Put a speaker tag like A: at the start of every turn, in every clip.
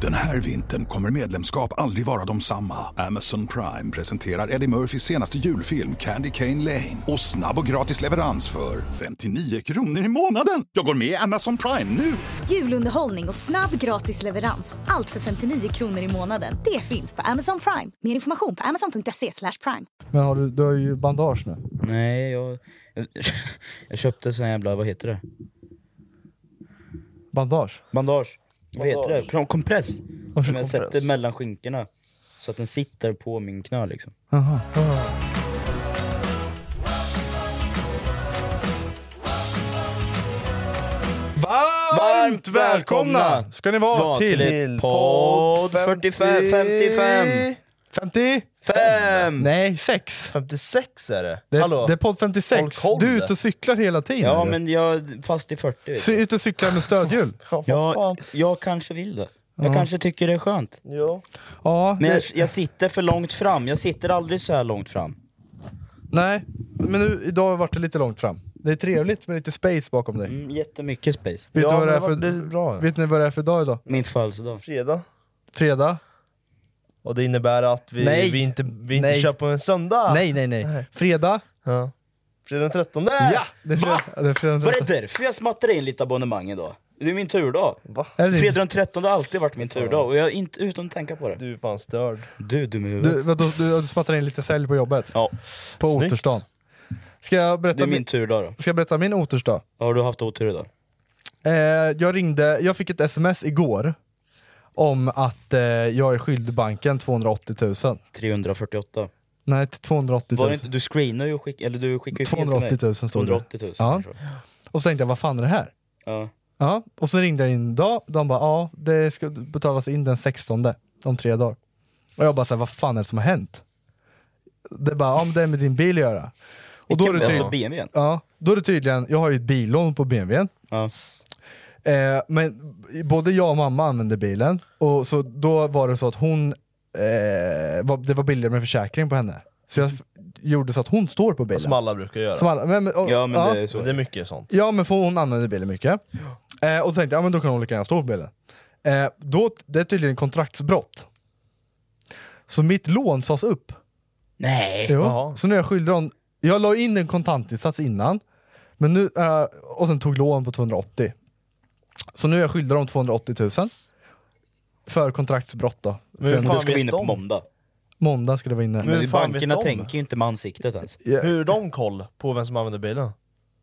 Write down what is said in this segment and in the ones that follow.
A: Den här vintern kommer medlemskap aldrig vara de samma. Amazon Prime presenterar Eddie Murphys senaste julfilm Candy Cane Lane. Och snabb och gratis leverans för 59 kronor i månaden. Jag går med i Amazon Prime nu!
B: Julunderhållning och snabb gratis leverans. Allt för 59 kronor i månaden. Det finns på Amazon Prime. Mer information på amazon.se slash prime.
C: Men har du, du har ju bandage nu.
D: Nej, jag... Jag köpte sån jävla, vad heter det?
C: Bandage?
D: Bandage. Vad heter det? Kom- Kompress.
C: Och så
D: Som jag
C: kompress.
D: sätter mellan skinkorna. Så att den sitter på min knö liksom.
C: Jaha.
D: Varmt
C: välkomna ska ni vara till-
D: podd
C: podd
D: 45, 55,
C: 50?
D: 5!
C: Nej, 6.
E: 56 är det.
C: Det
E: Hallå?
C: är, det är podd
E: Håll
C: 56.
E: koll.
C: Du är ute och cyklar hela tiden.
D: Ja
C: eller?
D: men jag är fast i 40 vet
C: Så
D: du.
C: ut och cyklar med stödhjul?
E: Ja, vad
D: jag,
E: fan.
D: jag kanske vill det. Jag kanske tycker det är skönt.
E: Ja.
C: Ja,
D: Men jag,
C: det-
D: jag sitter för långt fram, jag sitter aldrig så här långt fram.
C: nej. Men nu, idag vart det lite långt fram. Det är trevligt med lite space bakom dig.
D: Mm, jättemycket space.
C: Vet, du
E: Ja,
C: vad det är
E: men
C: för,
E: det är bra.
C: vet ni vad det är för dag idag?
D: Min födelsedag.
E: Fredag.
C: Fredag?
E: Och det innebär att vi,
C: Nej.
E: vi inte, vi inte
C: Nej.
E: kör på en söndag.
C: Nej, nej, nej. Fredag?
E: Ja. Fredag den 13.
D: Ja!
C: Det är fredag. Det är fredag.
D: Var det därför jag smattade in lite abonnemang idag? Det är min turdag.
E: Va?
C: Är det-
D: Fredag den 13 har alltid varit min turdag och jag är inte utan att tänka på det.
E: Du är fan störd.
D: Du, dum i
C: Du,
D: huvudet.
C: vadå, du, du smattar in lite sälj på jobbet?
D: Ja,
C: På
E: Snyggt.
C: återstan. Ska jag
D: det är
C: berätta
D: min
C: min,
D: turdag då.
C: ska jag berätta min återsdag?
D: Har du haft otur idag?
C: Eh, jag ringde, jag fick ett sms igår om att eh, jag är skyldig banken 280 000.
D: 348.
C: Nej, 280
D: Var
C: 000.
D: det inte, du screenar ju och skickar, eller du skickar ju fel till mig.
C: 280 000 stod det.
D: 280 000
C: Ja.
D: kanske.
C: Och så tänkte jag, vad fan är det här?
D: Ja.
C: Ja, och så ringde jag in en dag, de bara ja, det ska betalas in den 16 om tre dagar. Och jag bara såhär, vad fan är det som har hänt? Det är bara, ja men det är med din bil att göra. Och då är, det
D: Vilken-
C: tydligen,
D: Alltså BMWn?
C: ja, då är det tydligen, jag har ju ett billån på BMWn,
D: Ja.
C: Eh, men både jag och mamma använde bilen, och så då var det så att hon, eh, var, det var billigare med försäkring på henne. Så jag f- gjorde så att hon står på bilen.
E: Som alla brukar göra.
C: Som alla- men, men, och,
D: ja, men det är så.
E: Det är mycket sånt.
C: ja men för hon använder bilen mycket. Eh, och så tänkte jag, ja men då kan hon lika gärna stå på bilen. Eh, då, det är tydligen kontraktsbrott. Så mitt lån sades upp.
D: Nej!
C: Jo.
E: Jaha.
C: Så nu är jag skyldig dem, jag la in en kontantinsats innan, men nu, eh, och sen tog lån på 280. Så nu är jag skyldig dem 280 000. För kontraktsbrott då.
E: Men
C: För
E: hur
C: en-
E: fan
D: Det ska vi
E: vet
D: in på
E: de?
D: måndag.
C: Måndag ska det vara inne.
E: Men hur fan vet
D: Bankerna
E: de?
D: tänker ju inte med ansiktet ens.
C: Ja.
E: Hur har de koll på vem som använder bilen?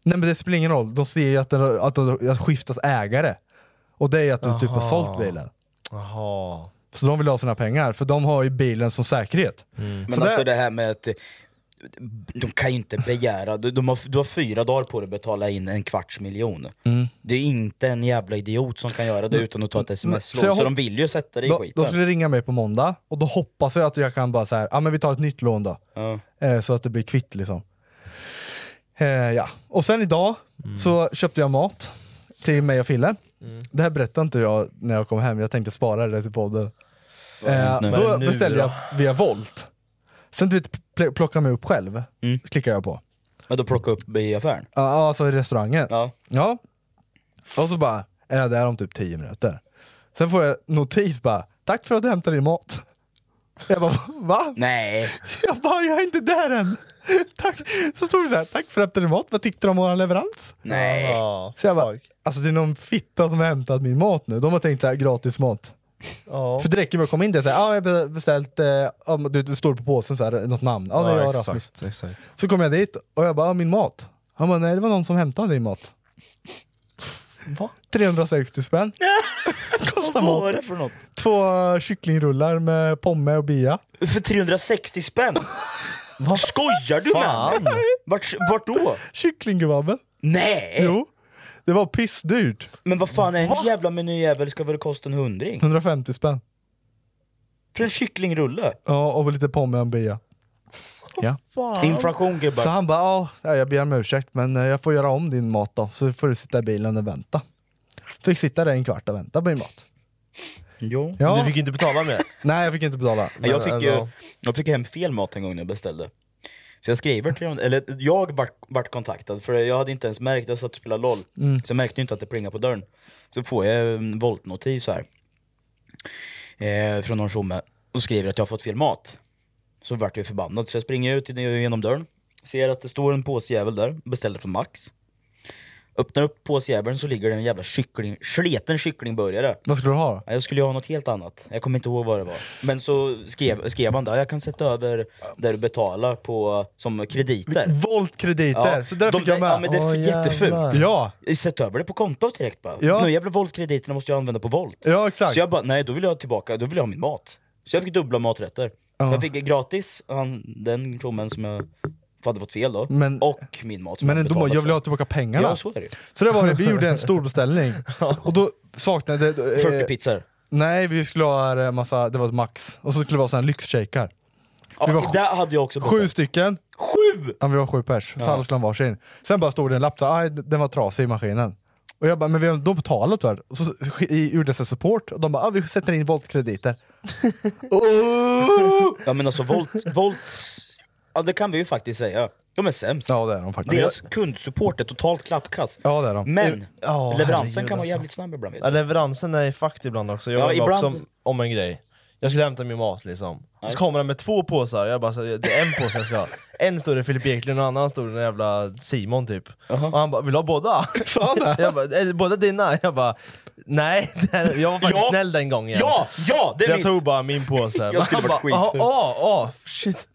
C: Nej men det spelar ingen roll, de ser ju att det, att det att skiftas ägare. Och det är ju att du typ har
E: Jaha.
C: sålt bilen.
E: Jaha.
C: Så de vill ha sina pengar, för de har ju bilen som säkerhet.
D: Men
C: Så det-
D: alltså det här med att eh, de kan ju inte begära, du, de har, du har fyra dagar på dig att betala in en kvarts miljon.
C: Mm.
D: Det är inte en jävla idiot som kan göra det utan att ta ett sms-lån,
C: så jag
D: så,
C: hop-
D: de vill ju sätta dig i
C: De,
D: skiten.
C: de skulle ringa mig på måndag, och då hoppas jag att jag kan bara så här, ja men vi tar ett nytt lån då.
D: Ja.
C: Eh, så att det blir kvitt liksom.
E: Mm.
C: Eh, ja. Och sen idag så köpte jag mat till mig och Fille. Det här berättade inte jag när jag kom hem, jag tänkte spara det till podden.
E: Vad har
C: Eh,
E: hänt nu?
C: då
E: Men nu
C: beställde jag
E: då?
C: via Volt. Sen du vet, pl- plockar jag mig upp själv,
E: Mm.
C: klickar jag på.
D: Ja, då plockade upp i affären.
C: Ja, ah, alltså i restaurangen. Ja. Och så bara, är jag där om typ 10 minuter. Sen får jag notis bara, tack för att du hämtade din mat. Jag bara, va?
D: Nej.
C: Jag bara, jag är inte där än. tack. Så stod det så här, tack för att du hämtade din mat, vad tyckte du om våran leverans?
D: Nej.
C: Så jag bara, alltså det är någon fitta som har hämtat min mat nu. De har tänkt så här, gratis mat.
E: Ja.
C: För det räcker med att komma in där och säga, ja jag har beställt, eh, ja, men du, det står på påsen så här, något namn. Ja, det är jag Rasmus.
E: exakt, exakt.
C: Så kom jag dit och jag bara, ah, min mat. Han bara, nej det var någon som hämtade din mat.
E: Va?
C: 360 spänn. Kostar
D: Vad var
C: mat.
D: det för något?
C: Två kycklingrullar med pomme och bia.
D: För 360 spänn? Skojar du med mig? Vart, vart då?
C: Kycklingkebaben.
D: Nej!
C: Jo. Det var pissdyrt.
D: Men vad fan, en jävla menyjävel ska väl kosta en hundring?
C: 150 spänn.
D: För en kycklingrulle?
C: Ja, och lite pommes och bia. Ja.
D: Fan. Inflation, gubbar.
C: Så han bara, "Ja, ja, jag ber om ursäkt men eh, jag får göra om din mat då, så får du sitta i bilen och vänta. Fick sitta där en kvart och vänta på min mat.
D: Jo.
C: Ja.
E: Du fick inte betala mer.
C: Nej, jag fick inte betala. eh,
D: Nej, jag, fick ju,
C: alltså-
D: jag fick hem fel mat en gång när jag beställde. Så jag skriver till dem, eller jag vart, vart kontaktad för jag hade inte ens märkt, jag satt och spelade LOL.
F: Mm.
D: Så jag märkte ju inte att det plingade på dörren. Så får jag en voltnotis så här. Eh, från någon tjomme och skriver att jag har fått fel mat. Så vart jag ju förbannad så jag springer ut genom dörren. Ser att det står en påsjävel där, beställer från Max. Öppnar upp påsjäveln så ligger det en jävla kyckling, sleten kycklingburgare.
C: Vad skulle du ha?
D: Jag skulle ju ha något helt annat. Jag kommer inte ihåg vad det var. Men så skrev, skrev han där, jag kan sätta över där du betalar på, som krediter.
C: Voltkrediter, så där
D: de,
C: fick jag med.
D: Ja men det är
C: Åh, jävlar.
D: jättefult.
C: Ja.
D: Sätt över det på kontot direkt bara.
C: Ja.
D: De jävla voltkrediterna måste jag använda på volt.
C: Ja, exakt.
D: Så jag bara, nej då vill jag ha tillbaka, då vill jag ha min mat. Så jag fick dubbla maträtter.
C: Ja.
D: Jag fick gratis, han, den kromen som jag hade fått fel då,
C: Men-
D: och min mat som
C: Men
D: jag
C: ändå,
D: betalat
C: jag vill
D: för.
C: ha tillbaka pengarna.
D: Ja, så är det ju.
C: Så där var det, vi gjorde en stor beställning. Och då saknade... eh,
D: 40 pizzor.
C: Nej, vi skulle ha eh, massa, det var ett max. Och så skulle det vara såna här lyxshakar.
D: Ja,
C: Vi var sj-
D: där hade jag också
C: Sju
D: beställt.
C: stycken.
D: Sju!
C: Ja, vi var sju pers, så
D: Ja.
C: alla skulle ha varsin. Sen bara stod det en lapp, så, aj, den var trasig i maskinen. Och jag bara, men vi har ändå betalat för det. Och så sk- i- gjorde jag support, och de bara, ah, vi sätter in voltkrediter.
D: Ja men alltså Volt, Volts, ja det kan vi ju faktiskt säga. De är sämst.
C: Ja det är de faktiskt.
D: Deras kundsupport är totalt klappkass.
C: Ja det är de.
D: Men
E: Ja,
D: leveransen
E: herregud,
D: kan vara
E: alltså.
D: jävligt snabb ibland. Vet
E: Ja,
D: du.
E: leveransen är fakt ibland också. Jag
D: Ja,
E: var
D: ibland-
E: också om, om en grej. Jag skulle hämta min mat liksom. Och
D: Nej.
E: så kommer den med två påsar, jag bara så, det är en påse jag ska ha. En står det Filip Eklund och en annan står det en jävla Simon typ. Och han bara, vill du ha båda?
C: Sa han det?
E: Jag bara, är det båda dina? Jag bara, nej. det här- Jag var faktiskt snäll den gången.
D: Ja, ja, det är
E: så jag
D: mitt.
E: tog bara min påse.
D: Jag skulle
E: han
D: varit
E: bara,
D: skitful.
E: "Ah, ah, ah, shit.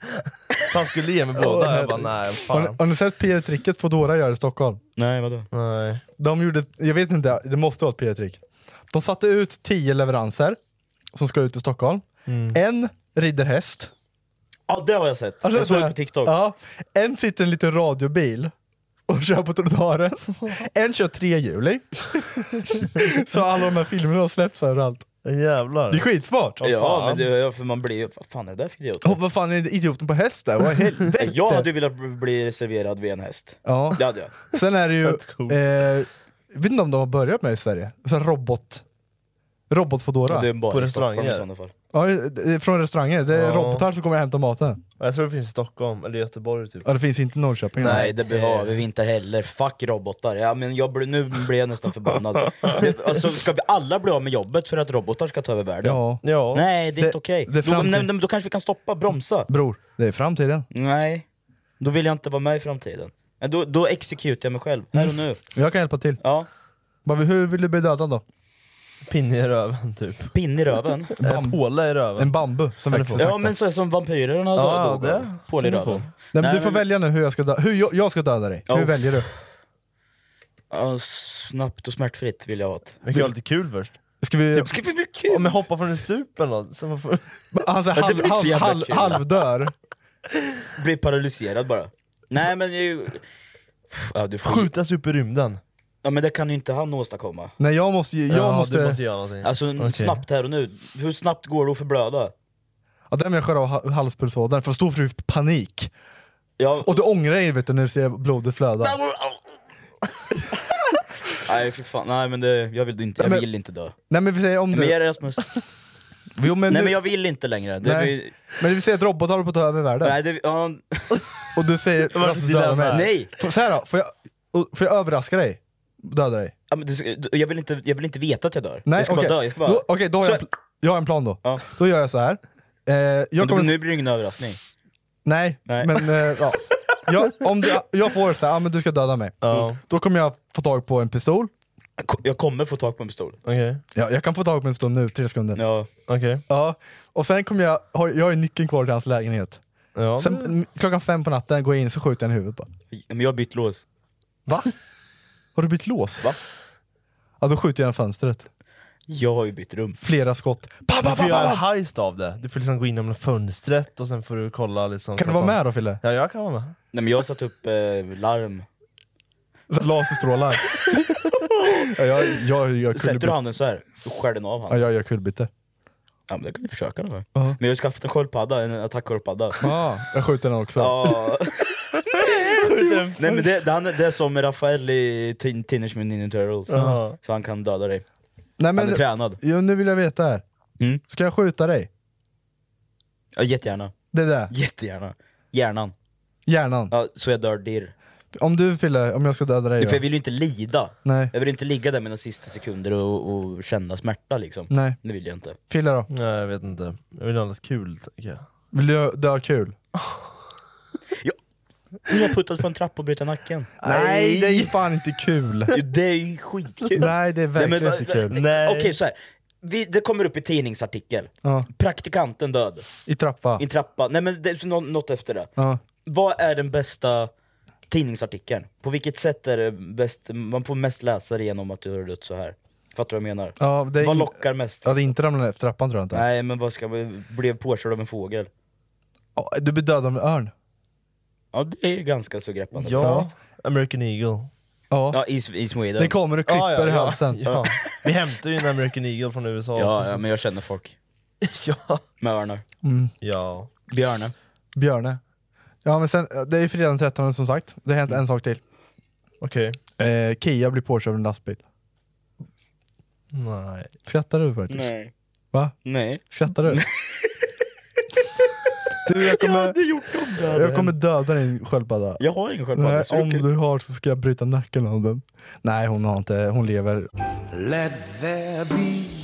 E: Så han skulle ge mig båda, jag bara nej
C: Har ni,
E: fan.
C: har ni sett PR-tricket Foodora gör i Stockholm?
D: Nej vadå?
E: Nej.
C: De gjorde, jag vet inte, det måste vara ett PR-trick. De satte ut 10 leveranser som ska ut i Stockholm.
D: Mm.
C: En rider häst.
D: Ja det har jag sett.
C: Alltså,
D: jag såg
C: så
D: det
C: här-
D: på TikTok.
C: Ja, en sitter i en liten radiobil och kör på trottoaren. En kör trehjuling. så alla de här filmerna har släppts överallt.
E: Jävlar.
C: Det är skitsmart!
D: Ja men det, ja, för man blir ju, vad fan är det där för idiot?
C: Åh, vad fan är det idioten på häst där? Vad i helvete?
D: Jag hade ju velat bli serverad vid en häst.
C: Ja.
D: Det hade jag.
C: Sen är det ju, eh, jag vet inte om de har börjat med det i Sverige, så här robot, robotfodora.
D: Det är bara i Stockholm i sådana fall.
C: Ja, det är från restauranger, det är
E: Ja.
C: robotar som kommer och hämtar maten.
E: Jag tror det finns i Stockholm, eller Göteborg typ.
C: Ja, det finns inte i Norrköping.
D: Nej det behöver
E: eh.
D: vi inte heller, fuck robotar. Ja, men jag, blir- nu blir jag nästan förbannad. Det, alltså, ska vi alla bli av med jobbet för att robotar ska ta över världen?
C: Ja.
D: Nej det är inte okej.
C: det är
D: Då,
C: framtid-
D: nej, nej, då kanske vi kan stoppa, bromsa.
C: Bror, det är framtiden.
D: Nej, då vill jag inte vara med i framtiden. Men Då, då executar jag mig själv, här och nu.
C: Jag kan hjälpa till.
D: Ja.
C: Vad- Hur vill du bli dödad då?
E: Pinne i röven typ.
D: Pinne i röven?
E: En påle i röven.
C: En bambu som
E: Kan du
C: växer
E: få?
C: sakta.
D: Ja men så är som vampyrerna då,
E: Ja,
D: då
E: det
D: Pål i
E: kan du få.
D: röven.
C: Nej, men
D: Nej,
C: du får
D: men-
C: välja nu hur jag ska döda, hur jag, jag ska döda dig. Hur
D: Ja.
C: väljer du?
D: Ja, snabbt och smärtfritt vill jag ha det.
E: Vi kan ha lite kul först. Typ-
C: Ska vi...
D: Ska vi bli kul?
E: Om jag hoppar från en stup eller något. så man får-
C: Alltså,
D: Ja, det
C: halv,
D: blir inte så
C: halv,
D: jävla
C: halv,
D: kul.
C: halvdör.
D: Bli paralyserad bara. Nej men jag... Ja, du får...
E: Skjutas upp i rymden.
D: Ja men det kan ju inte han åstadkomma.
C: Nej jag måste ju, jag
E: Ja, du
C: måste...
E: måste göra någonting.
D: Alltså
E: Okej.
D: snabbt här och nu, hur snabbt går det att förblöda?
C: Ja, den vill jag skära av ha- halspulsådern, för då står du i panik.
D: Ja.
C: Och du ångrar dig vet du, när du ser blodet flöda.
D: Nej för fan, nej men det, jag vill inte, jag
C: Men-
D: vill inte dö.
C: Nej men vi säger om
D: Nej,
C: du...
D: men ge det, Rasmus.
C: Jo, men
D: nej
C: nu-
D: men jag vill inte längre. Det,
C: Nej.
D: vi,
C: Men vi säger att robotar håller på att ta över världen.
D: nej, det, ja,
C: Och du säger
D: Det var ett
C: Rasmus döda
D: dilemma.
C: mig.
D: Nej.
C: Får- Så här då, får jag, och- får jag överraska dig? Döda dig?
D: ja, men det, jag, vill inte, jag vill inte veta att jag dör.
C: Nej,
D: jag ska
C: okej.
D: bara dö, jag ska bara...
C: Då, okej, då har
D: Så-
C: jag, en pl- jag har en plan då. Då gör jag så här. Eh, jag
D: men
C: kommer...
D: Nu blir det ingen överraskning.
C: Nej, men eh, ja. jag, om du, jag får så här, ah, men du ska döda mig.
D: Ja.
C: Då kommer jag få tag på en pistol.
D: Jag kommer få tag på en pistol.
C: Ja, jag kan få tag på en pistol nu, tre sekunder.
D: Ja.
C: Ja. Och sen kommer jag, har, jag har ju nyckeln kvar till hans lägenhet.
E: Ja,
C: sen,
E: men-
C: m- Klockan fem på natten går jag in så skjuter jag en i huvudet bara.
D: Men jag har bytt lås.
C: Va? Har du bytt lås?
D: Va?
C: Ja, då skjuter jag genom fönstret.
D: Jag har ju bytt rum.
C: Flera skott. Pa,
E: Du
C: pa,
E: får
C: pa,
E: göra
C: pa,
E: en
C: pa.
E: heist av det. Du får liksom gå in genom fönstret och sen får du kolla liksom...
C: Kan
E: så
C: du
E: att
C: vara
E: han-
C: med då Fille?
E: Ja, jag kan vara med.
D: Nej men jag har satt upp eh, larm.
C: Så Laserstrålar. ja, jag, jag, jag
D: Sätter du handen så här, då skär den av
C: Ja,
D: handen.
C: jag gör kulbyte.
D: Ja men det kan du försöka då. Men jag har skaffat en sköldpadda, en attacksköldpadda.
C: Ja, jag skjuter den också.
D: Ah. Ja. Nej men det, det, han, det är som Rafael i Teen- Teenage Mutant Ninja Turtles,
C: Ja.
D: så han kan döda dig.
C: Nej, men,
D: han är tränad.
C: Jo, nu vill jag veta här.
D: Mm.
C: Ska jag skjuta dig?
D: Ja, jättegärna.
C: Det där.
D: Jättegärna. Hjärnan.
C: Hjärnan.
D: Ja, så jag dör dirr.
C: Om du Fille, om jag ska döda dig
D: För jag
C: då?
D: vill ju inte lida.
C: Nej.
D: Jag vill inte ligga där mina sista sekunder och, och känna smärta liksom.
C: Nej.
D: Det vill jag inte.
C: Fille då?
E: Nej, jag vet inte. Jag vill ha något kul, tänker jag.
C: Vill du dö kul?
D: Jag har puttat från en trappa och brutit nacken.
C: Nej, det är ju fan inte kul!
D: Jo, Det är ju skitkul!
C: Nej, det är verkligen
D: Nej, men-
C: inte kul.
D: Okej så här. Vi, det kommer upp i tidningsartikel,
C: Ja,
D: praktikanten död,
C: I trappa.
D: i en trappa, nej men det är så nå- något efter det.
C: Ja.
D: Vad är den bästa tidningsartikeln? På vilket sätt är det bäst, man får mest läsare genom att du har dött så här? Fattar du vad jag menar?
C: Ja, det är
D: vad
C: in-
D: lockar mest?
C: Ja, det är inte ramla ner för trappan tror jag inte.
D: Nej men vad ska man, blev påkörd av en fågel?
C: Ja, Du blir dödad av en örn.
D: Ja det är ju ganska så greppande.
E: Ja. American Eagle.
C: Ja.
D: Ja, i, S- i Sweden.
C: Den kommer och klipper
E: Ja, ja,
C: i
E: ja.
C: halsen.
E: Ja. Vi hämtar ju en American Eagle från USA.
D: Ja,
E: så-
D: ja, men jag känner folk.
E: ja.
D: Med örnar.
C: Mm.
E: ja.
D: Björnar.
C: Björne. Ja men sen, det är ju fredag den 13 som sagt. Det har hänt en sak till.
E: Okej.
C: Eh, Kia blir påkörd av en lastbil.
E: Nej.
C: Skrattar du Bertil?
D: Nej.
C: Va?
D: Nej.
C: Skrattar du? du jag kommer,
D: gjort om det
C: jag kommer döda din sköldpadda.
D: Jag har ingen sköldpadda,
C: Nej,
D: så
C: om
D: du kan-
C: du har så ska jag bryta nacken av den. Nej hon har inte, hon lever.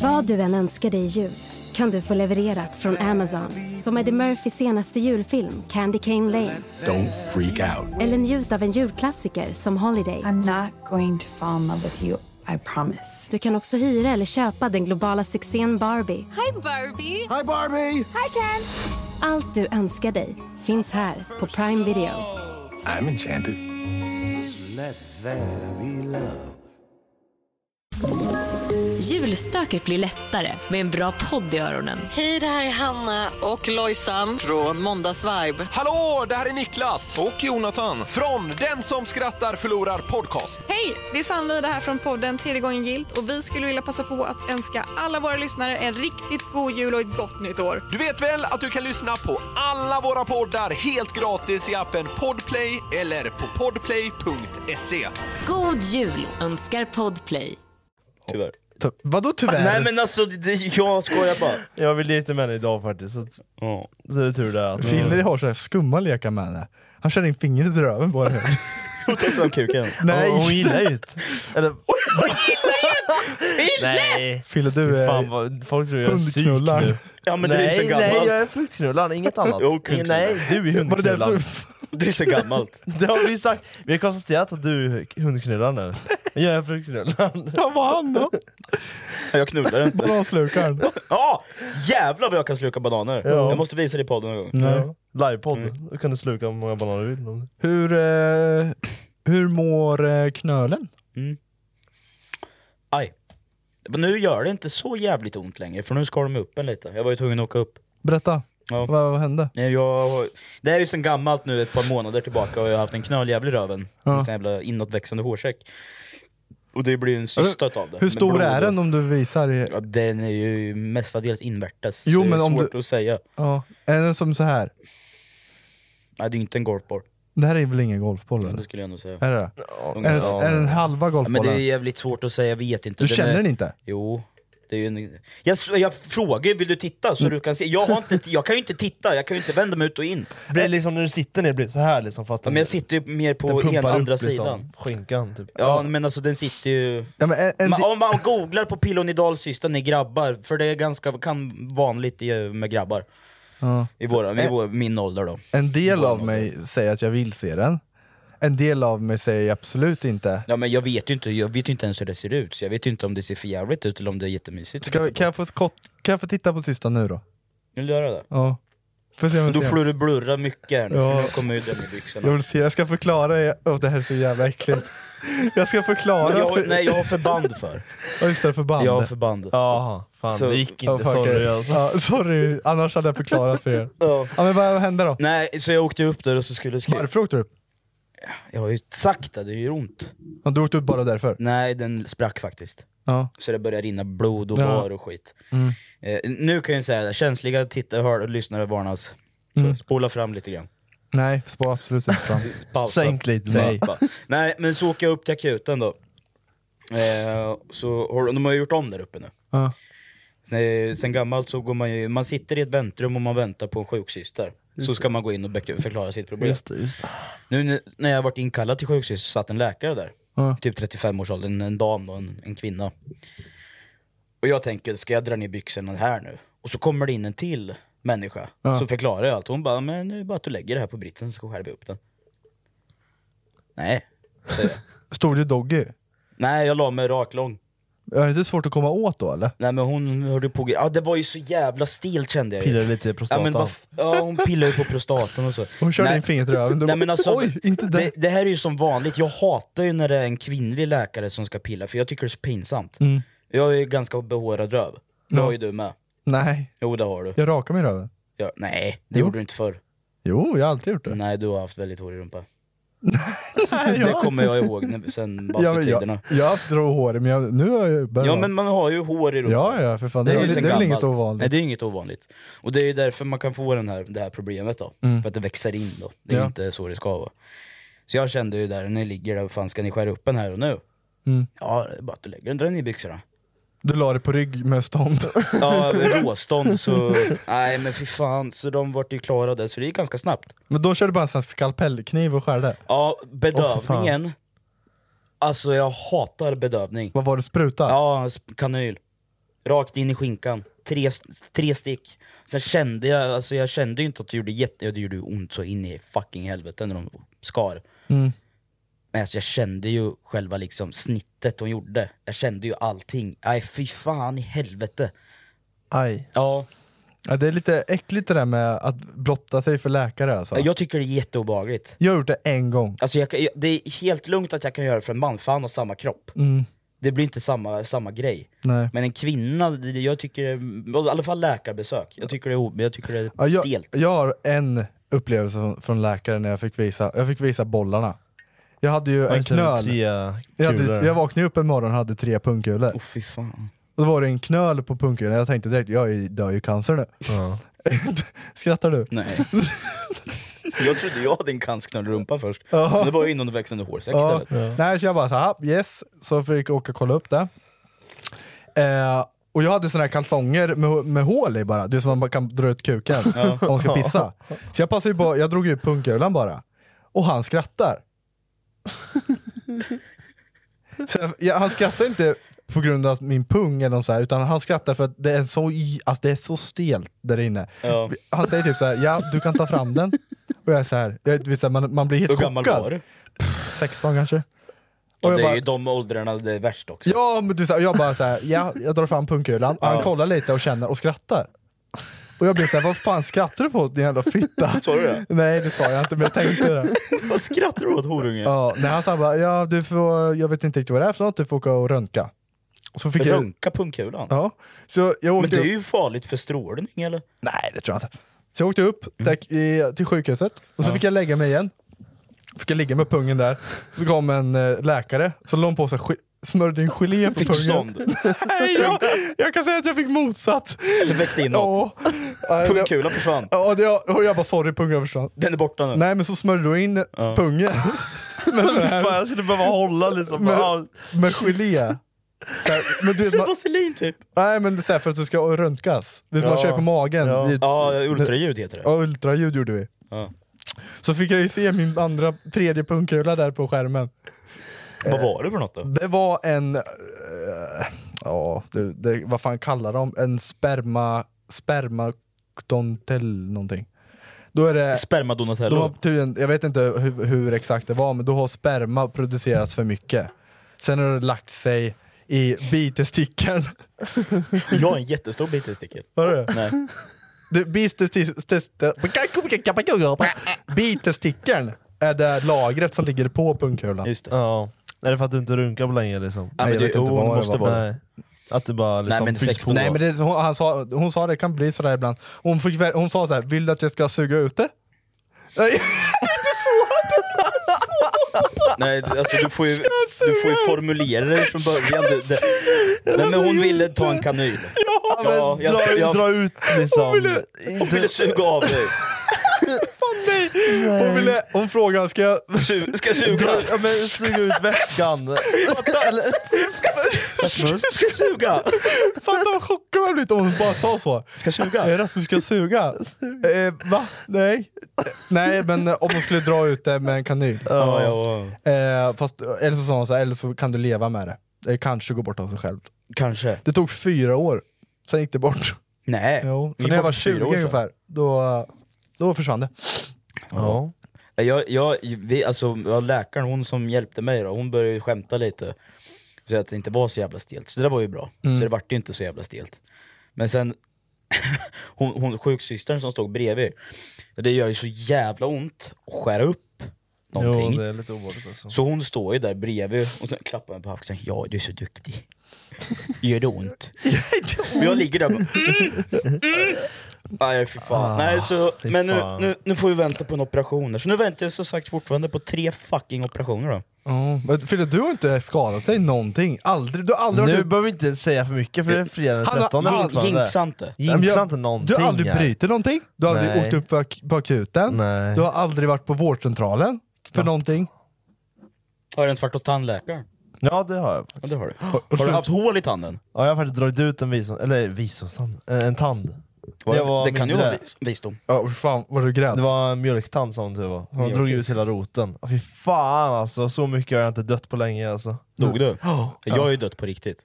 F: Vad du än önskar dig i jul kan du få levererat från Amazon. Som Eddie Murphys senaste julfilm Candy Cane Lane.
G: Don't freak out.
F: Eller njut av en julklassiker som Holiday. I'm not going to fall in love with you, I promise. Du kan också hyra eller köpa den globala succén Barbie.
H: Hi Barbie! Hi Barbie! Hi Ken!
F: Allt du önskar dig finns här på Prime Video.
G: I'm enchanted.
I: Julstöket blir lättare med en bra podd i öronen.
J: Hej, det här är Hanna och Lojsan från Måndagsvibe.
K: Hallå, det här är Niklas! Och Jonathan. Från Den som skrattar förlorar podcast.
L: Hej! Det är Sannlida här från podden Tredje gången gilt och vi skulle vilja passa på att önska alla våra lyssnare en riktigt god jul och ett gott nytt år.
K: Du vet väl att du kan lyssna på alla våra poddar helt gratis i appen Podplay eller på podplay.se.
I: God jul önskar Podplay.
D: Tyvärr.
C: Ty- vadå tyvärr?
D: Nej men alltså, det, det- jag skojar bara.
E: Jag vill lite med henne idag faktiskt. Så, att, så det är tur det. Att,
C: Fille har så här skumma lekar med henne. Han känner in fingret i röven på henne.
D: Från kuken.
C: Nej.
E: Hon, hon gillar ju det. Eller,
D: Nej!
C: Fille du är...
E: Fan vad, folk tror jag är psyk
C: Hundknullar.
E: nu.
D: Ja men det är ju så
E: nej,
D: gammalt.
E: nej jag är fruktknullaren, inget annat.
D: Jo, knullaren.
E: nej, du är
C: Var det
E: hundknullaren.
C: därför-
D: Det är så gammalt.
E: Det har vi sagt, vi har konstaterat att du är hundknullaren nu. Men jag är fruktknullaren.
C: Ja, vad han då?
D: Jag knullar inte.
C: Bananslukaren.
D: Ja! Jävlar vad jag kan sluka bananer.
E: Ja.
D: Jag måste visa det i podden någon gång.
C: Mm.
E: Ja. Livepodd, då kan du sluka hur många bananer du vill. om
C: Hur, eh, hur mår eh, knölen?
D: Aj. Men nu gör det inte så jävligt ont längre, för nu skar de upp en lite. Jag var ju tvungen att åka upp.
C: Berätta,
D: Ja.
C: vad, vad hände?
D: Nej, Jag, har- det är ju sen gammalt nu, ett par månader tillbaka, och jag har haft en knöljävel i röven.
C: Ja.
D: En sån jävla inåtväxande hårsäck. Och det blir en cysta utav det.
C: Alltså, Hur
D: med
C: stor
D: blod
C: är
D: och-
C: den om du visar? i-
D: Ja, den är ju mestadels invärtes.
C: Jo,
D: det är
C: men om
D: svårt att säga.
C: Ja. Är den som så här?
D: Nej, det är ju inte en golfboll.
C: Det här är väl ingen golfboll eller?
D: Det skulle jag ändå säga.
C: Är det det?
D: Ja,
C: Är det?
D: ja.
C: Är det en halva
D: Ja, Men
C: golfboll?
D: det är jävligt svårt att säga, jag vet inte.
C: Du
D: är-
C: känner den inte?
D: Jo. Det är ju en... jag, s- jag frågar ju, vill du titta
C: Mm.
D: så du kan se? Jag, har inte, jag kan ju inte titta, jag kan ju inte vända mig ut och in.
E: Blir det liksom när du sitter ner, blir det så här liksom? Fattar
D: Ja, men jag sitter ju mer på ena andra
C: liksom.
D: sidan.
E: Skinkan typ.
D: Ja, men alltså den sitter ju... man, om man googlar på Pilonidalsystern ni grabbar, för det är ganska kan vanligt i- med grabbar.
C: Ja.
D: I, våra, i vår, min ålder då.
C: En del av mig säger att jag vill se den. En del av mig säger absolut inte.
D: Ja, men jag vet ju inte, jag vet ju inte ens hur det ser ut, så jag vet ju inte om det ser för jävligt ut eller om det är jättemysigt.
C: Ska, kan, jag få, ett kort- kan jag få titta på tysta nu då?
D: Vill du göra det?
C: Ja. Får se om jag
D: Då
C: ser.
D: får du blurra mycket här nu,
C: Ja.
D: för nu kommer ju den i byxorna.
C: Jag vill se, jag ska förklara er. Åh, det här är så jävla äckligt. Jag ska förklara.
D: Men jag, Nej, jag har förband för.
C: Ja just det, förband.
D: Jag har förband.
E: Jaha, fan, det gick inte,
C: fuck
E: sorry,
C: it.
E: alltså.
C: Ja, sorry, annars hade jag förklarat för er.
D: Ja.
C: men vad hände då?
D: Nej, så jag åkte upp där och så skulle... Skri...
C: Varför åkte du upp?
D: Jag har ju sagt att det gör ont.
C: Ja, Du åkte upp bara därför?
D: Nej, den sprack faktiskt.
C: Ja.
D: Så det började rinna blod och
C: Ja.
D: var och skit.
C: Mm.
D: Eh, nu kan jag säga, känsliga tittare hör, och lyssnare varnas. Så
C: Mm.
D: Spola fram lite grann.
C: Nej, spå absolut inte fram.
D: Pausa.
C: Nej.
D: Bara. Nej, men så åker jag upp till akuten då. Eh, så har, de har ju gjort om där uppe nu.
C: Ja.
D: Sen, sen gammalt så går man ju, man sitter i ett väntrum och man väntar på en sjuksyster.
E: Just
D: Så
E: det.
D: ska man gå in och bek- förklara sitt problem.
E: Just det, just det.
D: Nu n- när jag varit inkallad till sjuksyster så satt en läkare där.
C: Ja.
D: Typ 35-årsåldern, en, en dam då, en, en kvinna. Och jag tänker, ska jag dra ner byxorna här nu? Och så kommer det in en till människa
E: Ja.
D: som förklarar allt. Hon bara, men nu är det bara att du lägger det här på britsen så skär vi upp den. Nej, säger jag.
C: Stod du Doggy?
D: Nej, jag la mig rak lång.
C: Är det inte svårt att komma åt då eller?
D: Nej men hon hörde på... Ja det var ju så jävla stelt kände jag ju.
C: Pillade lite i prostatan.
D: Ja, men vad f- ja hon pillade ju på prostatan och så.
C: Hon körde
D: Nej.
C: in fingret i röven. Du
D: Nej,
C: bara,
D: men alltså,
C: Oj, inte där.
D: det, det här är ju som vanligt, jag hatar ju när det är en kvinnlig läkare som ska pilla för jag tycker det är så pinsamt.
C: Mm.
D: Jag är ju ganska behårad röv. Det
C: Ja.
D: har ju du med.
C: Nej,
D: Jo det har du.
C: jag rakar min röven.
D: Ja, nej, det
C: Jo.
D: gjorde du inte förr.
C: Jo, jag har alltid gjort det.
D: Nej, du har haft väldigt hårig rumpa.
C: jag-
D: Det kommer jag ihåg när, sen
C: Ja, men
D: bastutiderna.
C: jag, jag har haft rå hår, men jag, nu har jag börjat.
D: Ja men man har ju hår i rumpan.
C: Ja, ja, för fan. Det är
D: ju
C: väl-
D: sen
C: det är väl
D: gammalt.
C: inget ovanligt.
D: Nej det är inget ovanligt. Och det är ju därför man kan få den här, det här problemet då.
C: Mm.
D: För att det växer in då. Det är
C: Ja.
D: inte så det ska vara. Så jag kände ju där, när jag ligger där, vad fan ska ni skära upp den här och nu?
C: Mm.
D: Ja, det är bara att du lägger den, dra ner byxorna.
C: Du la det på rygg med stånd.
D: Ja, med råstånd så... Nej men fy fan, så de vart ju klara där, så det gick ganska snabbt.
C: Men då körde du bara en sån här skalpellkniv och skärde?
D: Ja,
C: Åh, för
D: bedövningen.
C: fan.
D: alltså jag hatar bedövning.
C: Vad var det, spruta?
D: Ja, sp- kanyl. Rakt in i skinkan. Tre, st- tre stick. Sen kände jag, alltså jag kände ju inte att det gjorde jätte... ja, Det gjorde ju ont så in i fucking helvete när de skar.
C: Mm.
D: Men alltså jag kände ju själva liksom snittet de gjorde. Jag kände ju allting. Nej fy fan i helvete.
C: Aj.
D: Ja.
C: ja. Det är lite äckligt det där med att blotta sig för läkare alltså.
D: Jag tycker det är jätteobehagligt.
C: Jag har gjort det en gång.
D: Alltså jag, kan- jag, det är helt lugnt att jag kan göra det för en man, för han har samma kropp.
C: Mm.
D: Det blir inte samma, samma grej.
C: Nej.
D: Men en kvinna, det- jag tycker, i alla fall läkarbesök, jag tycker det är, o- jag tycker det är
C: Ja, jag,
D: stelt.
C: jag har en upplevelse från, från läkaren när jag fick visa, jag fick visa bollarna. Jag hade ju en
E: just det,
C: knöl.
E: tre
C: jag, hade,
E: kulor.
C: jag vaknade upp en morgon och hade tre pungkulor.
D: Oh, fy fan.
C: Då var det en knöl på pungkulan, jag tänkte direkt jag är ju- dör ju i cancer nu. Skrattar du?
D: Nej. Jag trodde jag hade en cancerknöl i rumpan först,
C: Ja.
D: men det var ju innan du växande hårsäck
C: Ja.
D: istället.
C: Nej, så jag bara såhär, yes, så fick jag åka och kolla upp det. Eh, och jag hade såna här kalsonger med, med hål i bara, du vet som man bara kan dra ut kuken
E: Ja.
C: om man ska pissa. Så jag passade ju på, jag drog ut pungkulan bara. Och han skrattar. Så jag, jag, han skrattar inte på grund av min pung eller något så här, utan han skrattar för att det är så, i- alltså det är så stelt där inne.
D: Ja.
C: Han säger typ så här: ja du kan ta fram den. Och jag är såhär, jag, du vet så här, man, man blir helt
D: Hur
C: chockad.
D: gammal var du?
C: Pff, 16 kanske.
D: Och det
C: Och jag
D: är
C: bara,
D: ju de åldrarna det är värst också.
C: ja, men du, så här, jag bara såhär, ja, jag drar fram pungkulan, och han
D: Ja.
C: kollar lite och känner och skrattar. Och jag blir såhär, vad fan skrattar du på din jävla fitta?
D: Sa du det?
C: Nej det sa jag inte, men jag tänkte det.
D: Vad skrattar du åt horunge?
C: Ja, nej, han sa bara, ja, du får, jag vet inte riktigt vad det är för något, du får åka och röntga. Och så fick jag,
D: Runka pungkulan?
C: ja, så jag
D: Men
C: åkte
D: det är
C: upp-
D: ju farligt för strålning eller?
C: Nej det tror jag inte. Så jag åkte upp
D: Mm.
C: där, i, till sjukhuset och så fick jag lägga mig igen. Fick jag ligga med pungen där. Så kom en eh, läkare, så la hon på sig ge- smörjde in gelé på
D: Fick du
C: pungen.
D: stånd?
C: Nej, jag, jag kan säga att jag fick motsatt.
D: Det växte in
C: Ja.
D: Pungkulan försvann.
C: Ja, och, det, och jag bara sorry, pungen försvann.
D: Den är borta nu.
C: Nej men så smörjde du in pungen. med sån här-
E: Fan, jag skulle behöva hålla liksom.
C: Med, med gelé. Så här, men du vet, man,
D: Vaselin typ.
C: nej men det är så här för att du ska röntgas. Du vet, Man
D: Ja.
C: kör på magen.
D: Ja.
C: i ett-
D: Ja, ultraljud heter det.
C: Ja, ultraljud gjorde vi. Så fick jag ju se min andra, tredje pungkula där på skärmen. eh,
D: Vad var det för något då?
C: Det var en, eh, ja du, det, vad fan kallar de, en sperma, spermaktontell någonting. Då är det, de har
D: Spermadonacello.
C: tydligen, jag vet inte hur, hur exakt det var, men då har sperma producerats för mycket. Sen har det lagt sig i bitestickeln.
D: Jag har en jättestor bit i sticket.
C: Har du?
D: Nej.
C: Det- bitestis- Bitestickeln är det lagret som ligger på pungkulan.
D: Just det.
E: Ja. Är det för att du inte runkar på länge liksom?
C: men det- jo, det måste vara det.
E: Nej. Att det bara liksom fylls på.
C: Nej, men det, hon, han sa, hon sa det kan bli sådär ibland. Hon, fick, väl- hon sa såhär, vill du att jag ska suga ut det? Nej.
D: Nej, d- alltså du får ju, du får ju formulera det från början. Det, det, nej, men hon ville ta en kanyl.
E: Ja, men
D: Ja, jag-
E: dra,
D: jag-
E: dra ut liksom.
D: Hon ville suga av dig.
C: Hon, ville, hon frågade, ska jag...
D: Ska jag suga?
E: Dra, ja, men suga ut väskan.
D: Ska jag suga?
C: Fatta vad chockad man blivit om hon bara sa så.
D: Ska jag suga?
C: Eh, Rasmus, ska jag suga? Eh, va? Nej. Nej, men eh, om hon skulle dra ut det med en kanyl.
D: Ja, ja,
C: Eh, fast, eller så sa hon så här, eller så kan du leva med det. Det Eh, kanske går bort av sig självt.
D: Kanske.
C: Det tog fyra år, sen gick det bort.
D: Nej.
C: Jo,
D: Det
C: så
D: gick
C: när jag
D: bort
C: var
D: för fyra
C: 20
D: år sedan.
C: ungefär, då, då försvann det.
D: Ja. Jag, jag, vi, alltså, ja, läkaren, hon som hjälpte mig då, hon började ju skämta lite. Så att det inte var så jävla stelt. Så det där var ju bra.
C: Mm.
D: Så det vart ju inte så jävla stelt. Men sen, hon, hon, sjuksystern som stod bredvid, det gör ju så jävla ont att skära upp någonting.
E: Jo, det är lite obehagligt alltså.
D: Så hon står ju där bredvid och så klappar mig på axeln. Ja, du är så duktig. Gör det ont? Men jag ligger där och bara, mm, mm. Nej, för fan.
E: Ah,
D: Nej, så,
E: fy
D: men nu,
E: fan.
D: nu, nu får vi vänta på en operation. här. Så nu väntar jag som sagt fortfarande på tre fucking operationer då.
C: Ja, Men Fille, du har inte skadat dig någonting. Aldrig, du har aldrig
E: Nu
C: varit
E: behöver vi inte säga för mycket för det är fredag den
C: Han har-
E: 13
C: han-
E: fortfarande.
C: jinxa
D: inte.
C: Nej,
E: Jinxa
C: men
E: inte någonting
C: Du har aldrig
E: här.
C: brutit någonting, du har aldrig
E: Nej.
C: åkt upp på ak- på akuten,
E: Nej.
C: du har aldrig varit på vårdcentralen för någonting.
D: Har du ens varit hos tandläkaren?
E: Ja det har jag.
D: Ja, det har du. Har, har du haft hål i tanden?
E: Ja jag har faktiskt dragit ut en visdom, eller visdomstand, en, en tand. När jag var
D: det kan ju
E: mindre.
D: vara vis- visdom.
C: Ja, fan vad du grät.
E: Det var en mjölktand som tur var. Han drog
D: Mjölkis.
E: ut hela roten. Ah, Fy fan alltså, så mycket har jag inte dött på länge alltså.
D: Dog du?
E: Ja.
D: Jag har ju dött på riktigt.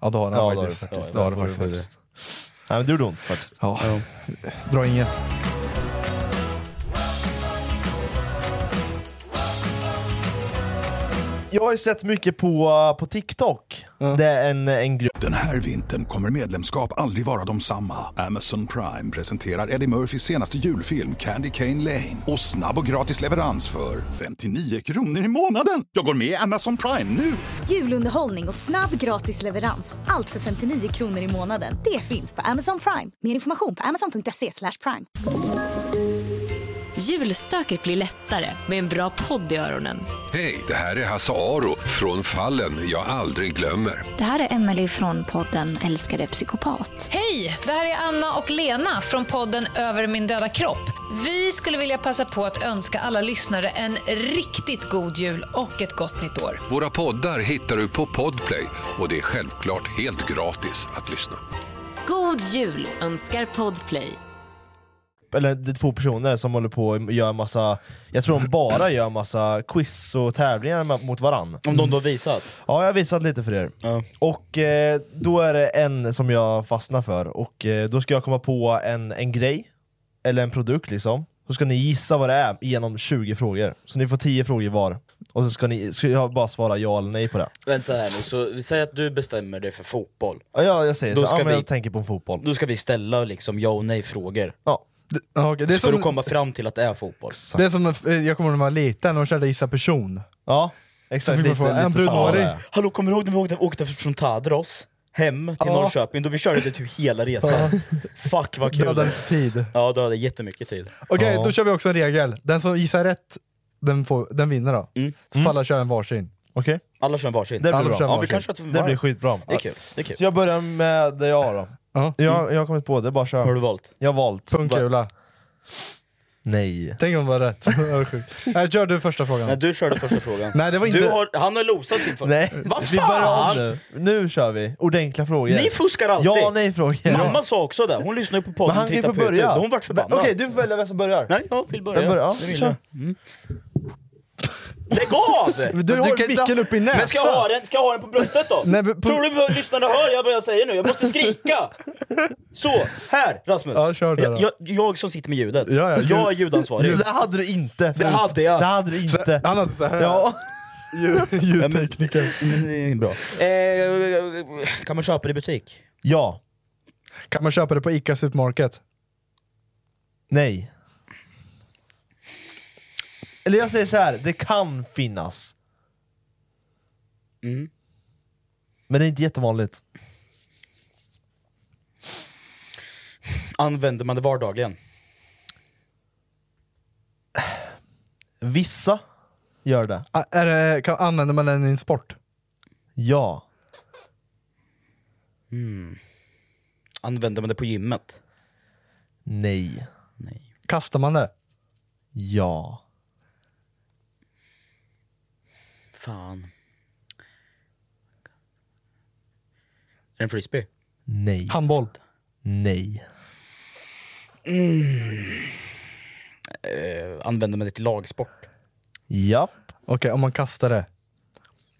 C: Ja det har
E: Ja, det
C: han
E: har
C: faktiskt.
E: du faktiskt.
C: Det har
E: Det
C: han
E: har du
C: faktiskt.
E: faktiskt. Nej men det gjorde ont faktiskt.
C: Ja. Dra inget.
E: Jag har ju sett mycket på, uh, på TikTok. Det är en, en grupp.
A: Den här vintern kommer medlemskap aldrig vara de samma. Amazon Prime presenterar Eddie Murphys senaste julfilm Candy Cane Lane. Och snabb och gratis leverans för 59 kronor i månaden. Jag går med i Amazon Prime nu!
B: Julunderhållning och snabb gratis leverans. Allt för 59 kronor i månaden. Det finns på Amazon Prime. Mer information på amazon.se slash prime.
I: Julstöket blir lättare med en bra podd i öronen.
G: Hej, det här är Hasse Aro från Fallen jag aldrig glömmer.
M: Det här är Emelie från podden Älskade psykopat.
N: Hej! Det här är Anna och Lena från podden Över min döda kropp. Vi skulle vilja passa på att önska alla lyssnare en riktigt god jul och ett gott nytt år.
G: Våra poddar hittar du på Podplay och det är självklart helt gratis att lyssna.
I: God jul önskar Podplay.
E: eller det är två personer som håller på och gör massa, jag tror de bara gör massa quiz och tävlingar med- mot varann.
D: Om de då visat?
E: Ja, jag har visat lite för er. Och eh, då är det en som jag fastnar för, och eh, då ska jag komma på en, en grej, eller en produkt liksom. Så ska ni gissa vad det är genom 20 frågor. Så ni får 10 frågor var, och så ska ni ska jag bara svara ja eller nej på det.
D: Vänta här nu, så vi säger att du bestämmer dig för fotboll.
E: Ja, jag, jag säger
D: Då
E: så,
D: ska
E: ja, men
D: vi-
E: jag tänker på en fotboll.
D: Då ska vi ställa liksom ja och nej frågor.
E: Ja.
C: okay, det är
D: för
C: som-
D: att komma fram till att det är fotboll.
C: Det är som, när- eh, jag kommer ihåg när man var liten och körde gissa person.
E: Ja,
C: Så fick man fråga, är han brunhårig?
D: Hallå, kommer du ihåg när vi åkte, åkte från Tadros hem till
C: Ja.
D: Norrköping? Då vi körde det typ hela resan. Fuck vad kul.
C: Dödade lite tid.
D: Ja, dödade jättemycket tid.
C: Okej, då kör vi också en regel. Den som gissar rätt, den, får, den vinner då.
D: Mm.
C: Så får alla köra en varsin.
E: Mm. Okej.
D: Alla kör en varsin.
C: Det blir Alla bra. kör en
D: Ja, vi
C: varsin.
D: kan köra ett
C: Det blir
D: var.
E: skitbra.
D: Det är kul. Det är kul.
E: Så jag börjar med det jag har då. Jag, jag har kommit på det, bara kör.
C: Har du
D: valt?
E: Jag har valt.
C: Pungkula.
E: Nej.
C: Tänk om det var rätt. Det var sjukt. Nej, kör du första frågan.
D: Nej, du körde första frågan.
C: Nej, det var inte-
D: du har, han har losat sin första.
E: Nej,
D: Vad
E: vi börjar om
D: fan!
E: nu. Nu kör vi. Ordentliga frågor.
D: Ni fuskar alltid!
E: Ja, nej frågor.
D: Mamma sa också det, hon lyssnar ju på podden
E: Men han
D: och
E: kan ju
D: tittar
E: få
D: på YouTube.
E: börja.
D: Hon vart förbannad.
E: Okej, du får välja vem som börjar.
D: Nej, jag vill börja.
E: Vem börjar? Ja,
D: Det vill
E: kör.
D: Lägg av!
E: Men du Men du har kan micken inte- upp i näsan.
D: Men ska jag ha den, ska jag ha den på bröstet då?
C: Nej, men på-
D: Tror du att lyssnarna hör jag vad jag säger nu? Jag måste skrika! Så, här Rasmus.
E: Ja, kör det då.
D: jag, jag, jag som sitter med ljudet.
E: ja, du-
D: jag är ljudansvarig.
E: Det där hade du inte.
D: Det hade jag.
E: Det hade du inte.
C: Han hade så här.
E: Ja.
D: Ljudtekniker. Det är bra. Eh, kan man köpa det i butik?
E: Ja.
C: Kan man köpa det på ICA Supermarket?
E: Nej. Eller jag säger så här, det kan finnas.
D: Mm.
E: Men det är inte jättevanligt.
D: Använder man det vardagligen?
E: Vissa gör det.
C: Ah, Är det, kan, använder man den i en sport?
E: Ja.
D: Använder man det på gymmet?
E: Nej.
C: Kastar man det?
E: Ja.
D: Fan. Är det en frisbee?
E: Nej.
C: Handboll?
E: Nej.
D: Eh, använder man det till lagsport?
E: Japp.
C: Okej, om man kastar det.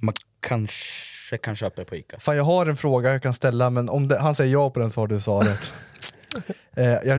D: Man kanske kan köpa det på Ica.
C: Fan, jag har en fråga jag kan ställa, men om det, han säger ja på den så har du svaret. eh, jag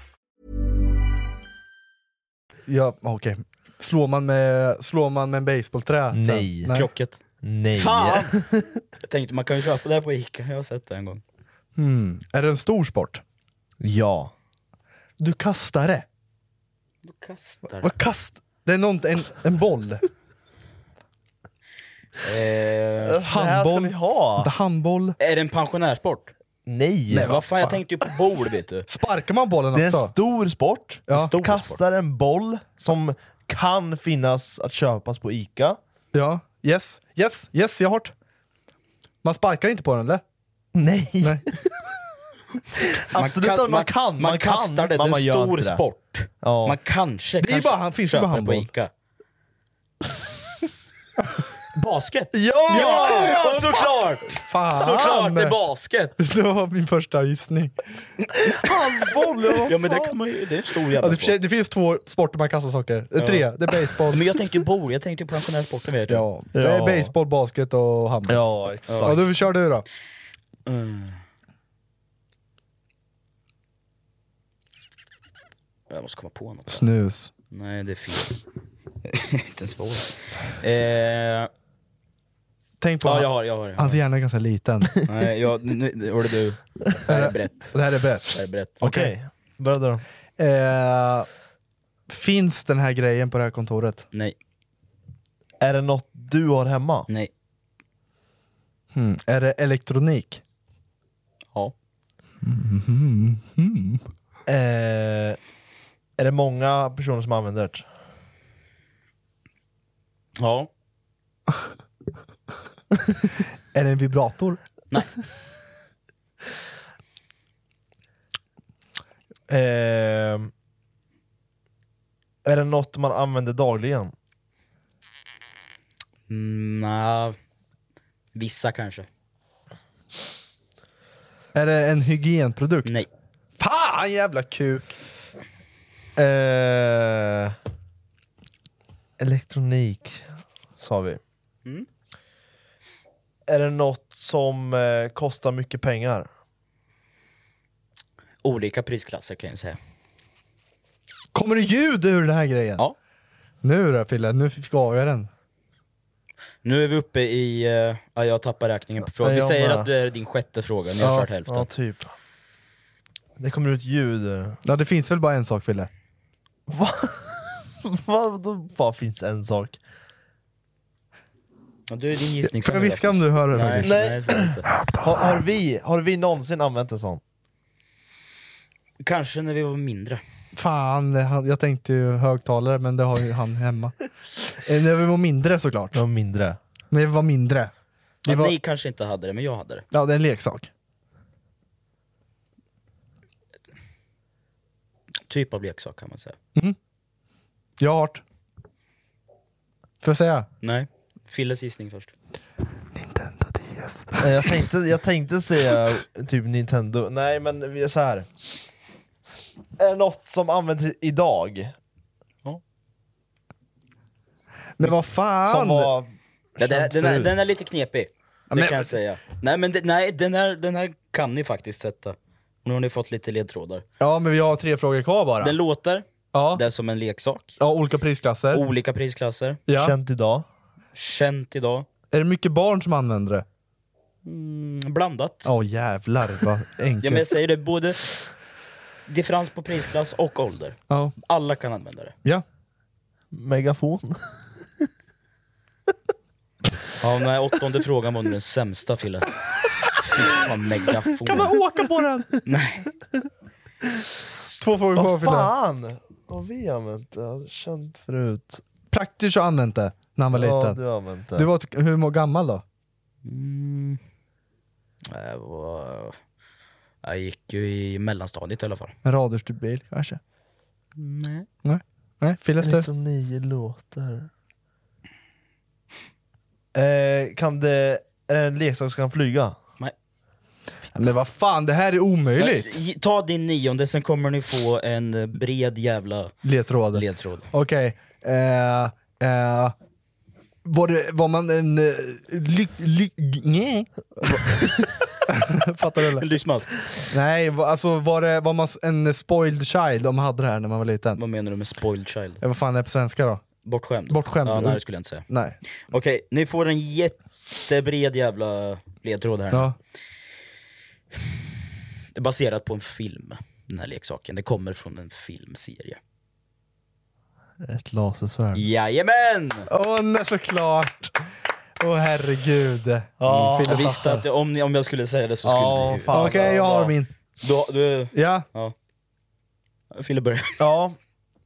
C: Ja, okej. Slår man med, slår man med en basebollträ? sen?
D: Nej. Krocket.
E: Nej.
D: Fan! Jag tänkte man kan ju köpa det här på Ica, jag har sett det en gång.
C: Hmm. Är det en stor sport?
E: Ja.
C: Du kastar det?
D: Du kastar
C: Vad kast? Det är nånt, en, en boll?
D: Eh,
C: handboll? Inte handboll?
D: Är det en pensionärsport?
E: Nej.
D: Nej vad fan, jag tänkte ju på bord vet du.
C: Sparkar man bollen
E: Det är en
C: också?
E: stor sport.
C: Ja. En stor
E: Kastar en boll som kan finnas att köpas på Ica.
C: Ja, yes, yes, yes, jag har hört. Man sparkar inte på den eller?
E: Nej.
D: Man
E: Absolut
D: kan-
E: att man kan, man kan,
D: kastar det, det
E: men
D: är
E: man gör
D: en stor
E: inte det.
D: sport.
E: Ja.
D: Man kanske
C: Det är
D: kanske
C: bara- han finns ju
D: köper
C: bara
D: det på
C: handboll.
D: Ica. Basket!
C: Ja!
D: ja såklart!
C: Fan!
D: Såklart det är basket!
C: Det var min första gissning.
E: Handboll,
D: Ja men det, kan man ju, det är en stor
C: Ja,
D: jävla
C: det,
D: sport.
C: för, det finns två sporter man kastar saker. Eh, Tre, det är baseball.
D: Men jag tänkte ju bord, jag tänkte ju på pensionärssporten vet du.
C: Ja, det är baseball, basket och handboll.
E: Ja, exakt.
C: Ja, då kör du då.
D: Jag måste komma på något.
C: Snus.
D: Nej det är fel. Inte ens svår. Eh,
C: Tänk på
D: Ja, jag har, jag har, jag har.
C: Hans hjärna är ganska liten.
D: nej, jag, nu, nu, hörde du. Det här är brett.
C: Det här är brett.
D: Det här är brett.
E: Okej, börja då.
C: Eh, finns den här grejen på det här kontoret?
D: Nej.
E: Är det något du har hemma?
D: Nej.
C: Hmm. Är det elektronik?
D: Ja.
E: Eh, är det många personer som använder det?
D: Ja.
C: Är det en vibrator?
E: Eh, är det något man använder dagligen?
D: Mm, nja. vissa kanske.
C: Är det en hygienprodukt? Nej.
E: Fan jävla kuk! Eh, elektronik, sa vi.
D: Mm.
E: Är det något som eh, kostar mycket pengar?
D: Olika prisklasser kan jag säga.
C: Kommer det ljud ur den här grejen?
D: Ja.
C: Nu då Fille, nu gav jag den.
D: Nu är vi uppe i... eh, ja, jag tappar räkningen på frågan.
E: Ja,
D: Vi
E: jag
D: säger
E: med.
D: att det är din sjätte fråga, nu har jag kört hälften.
E: Ja, typ. Det kommer ut ljud.
C: Ja det finns väl bara en sak Fille?
E: Vad då bara finns en sak?
D: Ja, du är din gissning.
E: Får
C: jag viska om du hör det?
D: Nej,
E: Nej.
D: nej, det får jag inte.
E: Har, har, vi, har vi någonsin använt en sån?
D: Kanske när vi var mindre.
C: Fan, han- jag tänkte ju högtalare men det har ju han hemma. Eh, När vi var mindre såklart.
E: Ja, mindre.
C: När vi var mindre. Vi
D: Ja,
C: var...
D: Ni kanske inte hade det, men jag hade det.
C: Ja det är en leksak.
D: Typ av leksak kan man säga.
C: Mm. Jag har det. Får jag säga?
D: Nej. Filles gissning först.
E: Eh, Jag tänkte, jag tänkte säga typ Nintendo, nej men vi är så här. Är det något som används i- idag?
C: Men vad fan!
E: Som var
D: Ja, den,
E: känd
D: den, är,
E: förut.
D: den är lite knepig, det
E: men-
D: kan jag säga. Nej, men det, nej, den, här, den här kan ni faktiskt sätta. Nu har ni fått lite ledtrådar.
C: Ja men vi har tre frågor kvar bara.
D: Den låter,
C: ja.
D: det är som en leksak.
C: Ja, olika prisklasser.
D: Olika prisklasser.
C: Ja.
E: Känt idag.
D: Känt idag.
C: Är det mycket barn som använder det?
D: Mm, blandat.
C: Åh jävlar vad enkelt.
D: Ja, men jag säger det, både differens på prisklass och ålder.
C: Ja.
D: Alla kan använda det.
C: ja.
E: Megafon.
D: Ja, nej, åttonde frågan var nog den sämsta Fille. Fy fan, megafon.
E: Kan man åka på den?
D: Nej.
C: Två frågor kvar
E: Vad
C: Fille.
E: fan! Har vi använt det? Jag har känt förut.
C: Praktiskt har använt det när han var
E: Ja,
C: liten.
E: du har använt det.
C: Du var typ- t- hur må- gammal då?
D: Mm. Jag, var... Eh, jag gick ju i mellanstadiet i alla fall.
C: En raderstyrd bil kanske?
D: Nej.
C: Nej, Nej. Fille
E: Det är
C: stör.
E: som nio låtar. Eh, kan det... Är det en leksak som kan flyga?
D: Nej.
C: Men vad fan, det här är omöjligt!
D: Ge- Eh, Ta din nionde, sen kommer ni få en eh, bred jävla
C: ledtråd.
D: ledtråd.
C: Okej. Eh, eh, var, det, var man en... eh, Ly, ly, nej. Fattar du eller?
D: Lysmask.
C: Nej, va- alltså var, det, var man s- en spoiled child om man hade det här när man var liten?
D: Vad menar du med spoiled child?
C: Eh, vad fan är det på svenska då?
D: Bortskämd?
C: Bortskämd.
D: Ja, nej, det skulle jag inte säga.
C: Nej.
D: Okej, ni får en jättebred jävla ledtråd här. nu.
C: Ja.
D: Det är baserat på en film, den här leksaken. Det kommer från en filmserie.
E: Ett lasersvärd.
D: Jajamän!
C: Åh nej såklart! Åh herregud.
D: Mm,
C: Fille
D: jag visste
C: Zappe.
D: att det, om, ni- om jag skulle säga det så skulle
C: Ja,
D: ni
C: fan. Okej, jag har min.
D: Då, du,
C: Ja.
D: ja. Fille börjar.
E: Ja.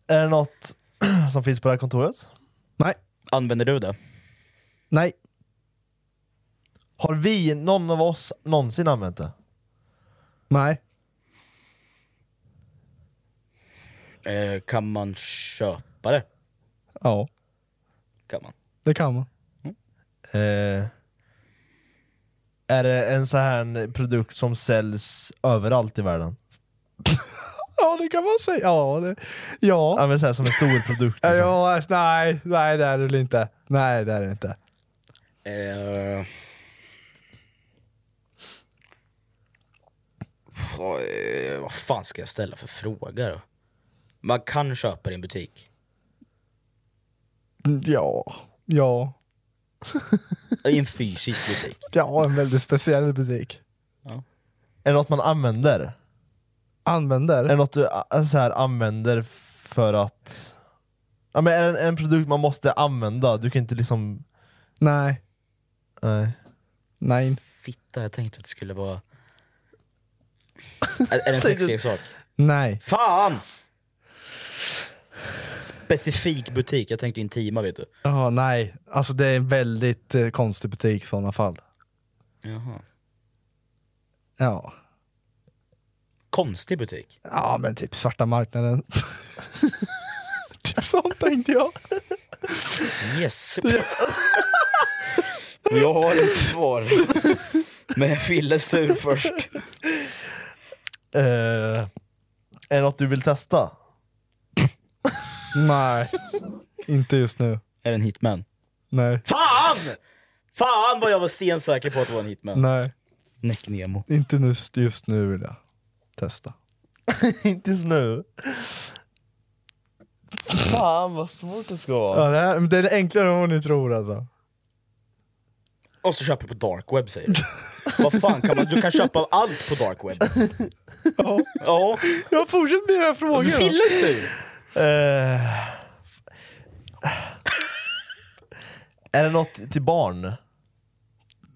E: Är det något som finns på det här kontoret?
C: Nej.
D: Använder du det?
C: Nej.
E: Har vi, någon av oss, någonsin använt det?
C: Nej.
D: Eh, kan man köpa det?
C: Ja,
D: Kan man.
C: det kan man.
E: Eh, är det en sån här en produkt som säljs överallt i världen?
C: Ja det kan man säga. Ja, det, ja.
E: Ja, men så här, som en stor produkt.
C: Ja,
E: Liksom.
C: ja, alltså, nej, nej det är det väl inte. Nej det är det inte.
D: Eh... Vad, eh, vad fan ska jag ställa för fråga då? Man kan köpa det i en butik.
C: Ja, ja.
D: Eh, I en fysisk butik.
C: Ja, en väldigt speciell butik.
E: Är det något man använder?
C: Använder?
E: Är det något du äh, så här, använder för att... Ja, men är det en, en produkt man måste använda? Du kan inte liksom...
C: Nej.
E: Nej.
C: Nej.
D: Fitta, jag tänkte att det skulle vara... Är, är det en sexleksak?
C: Nej.
D: Fan! Specifik butik, jag tänkte intima vet du.
C: Ja, nej. Alltså det är en väldigt eh, konstig butik i sådana fall.
D: Jaha.
C: Ja.
D: Konstig butik.
C: Ja men typ svarta marknaden. typ sånt tänkte jag.
D: Yes. Jag har ett svar. Men Filles tur först.
E: Eh, är det något du vill testa?
C: Nej, inte just nu.
D: Är det en hitman?
C: Nej.
D: Fan! Fan vad jag var stensäker på att det var en hitman.
C: Nej.
D: Näck Nemo.
C: Inte nus- just nu vill jag testa.
E: inte just nu? Fan vad svårt det ska
C: Ja,
E: vara.
C: det, här, men det är enklare än vad ni tror alltså.
D: Och så köper du på dark web säger du. vad fan, kan man, du kan köpa allt på dark web.
C: Ja.
D: ja.
C: Jag fortsätter med era frågor. då.
D: Silles du!
E: Eh, är det något till barn?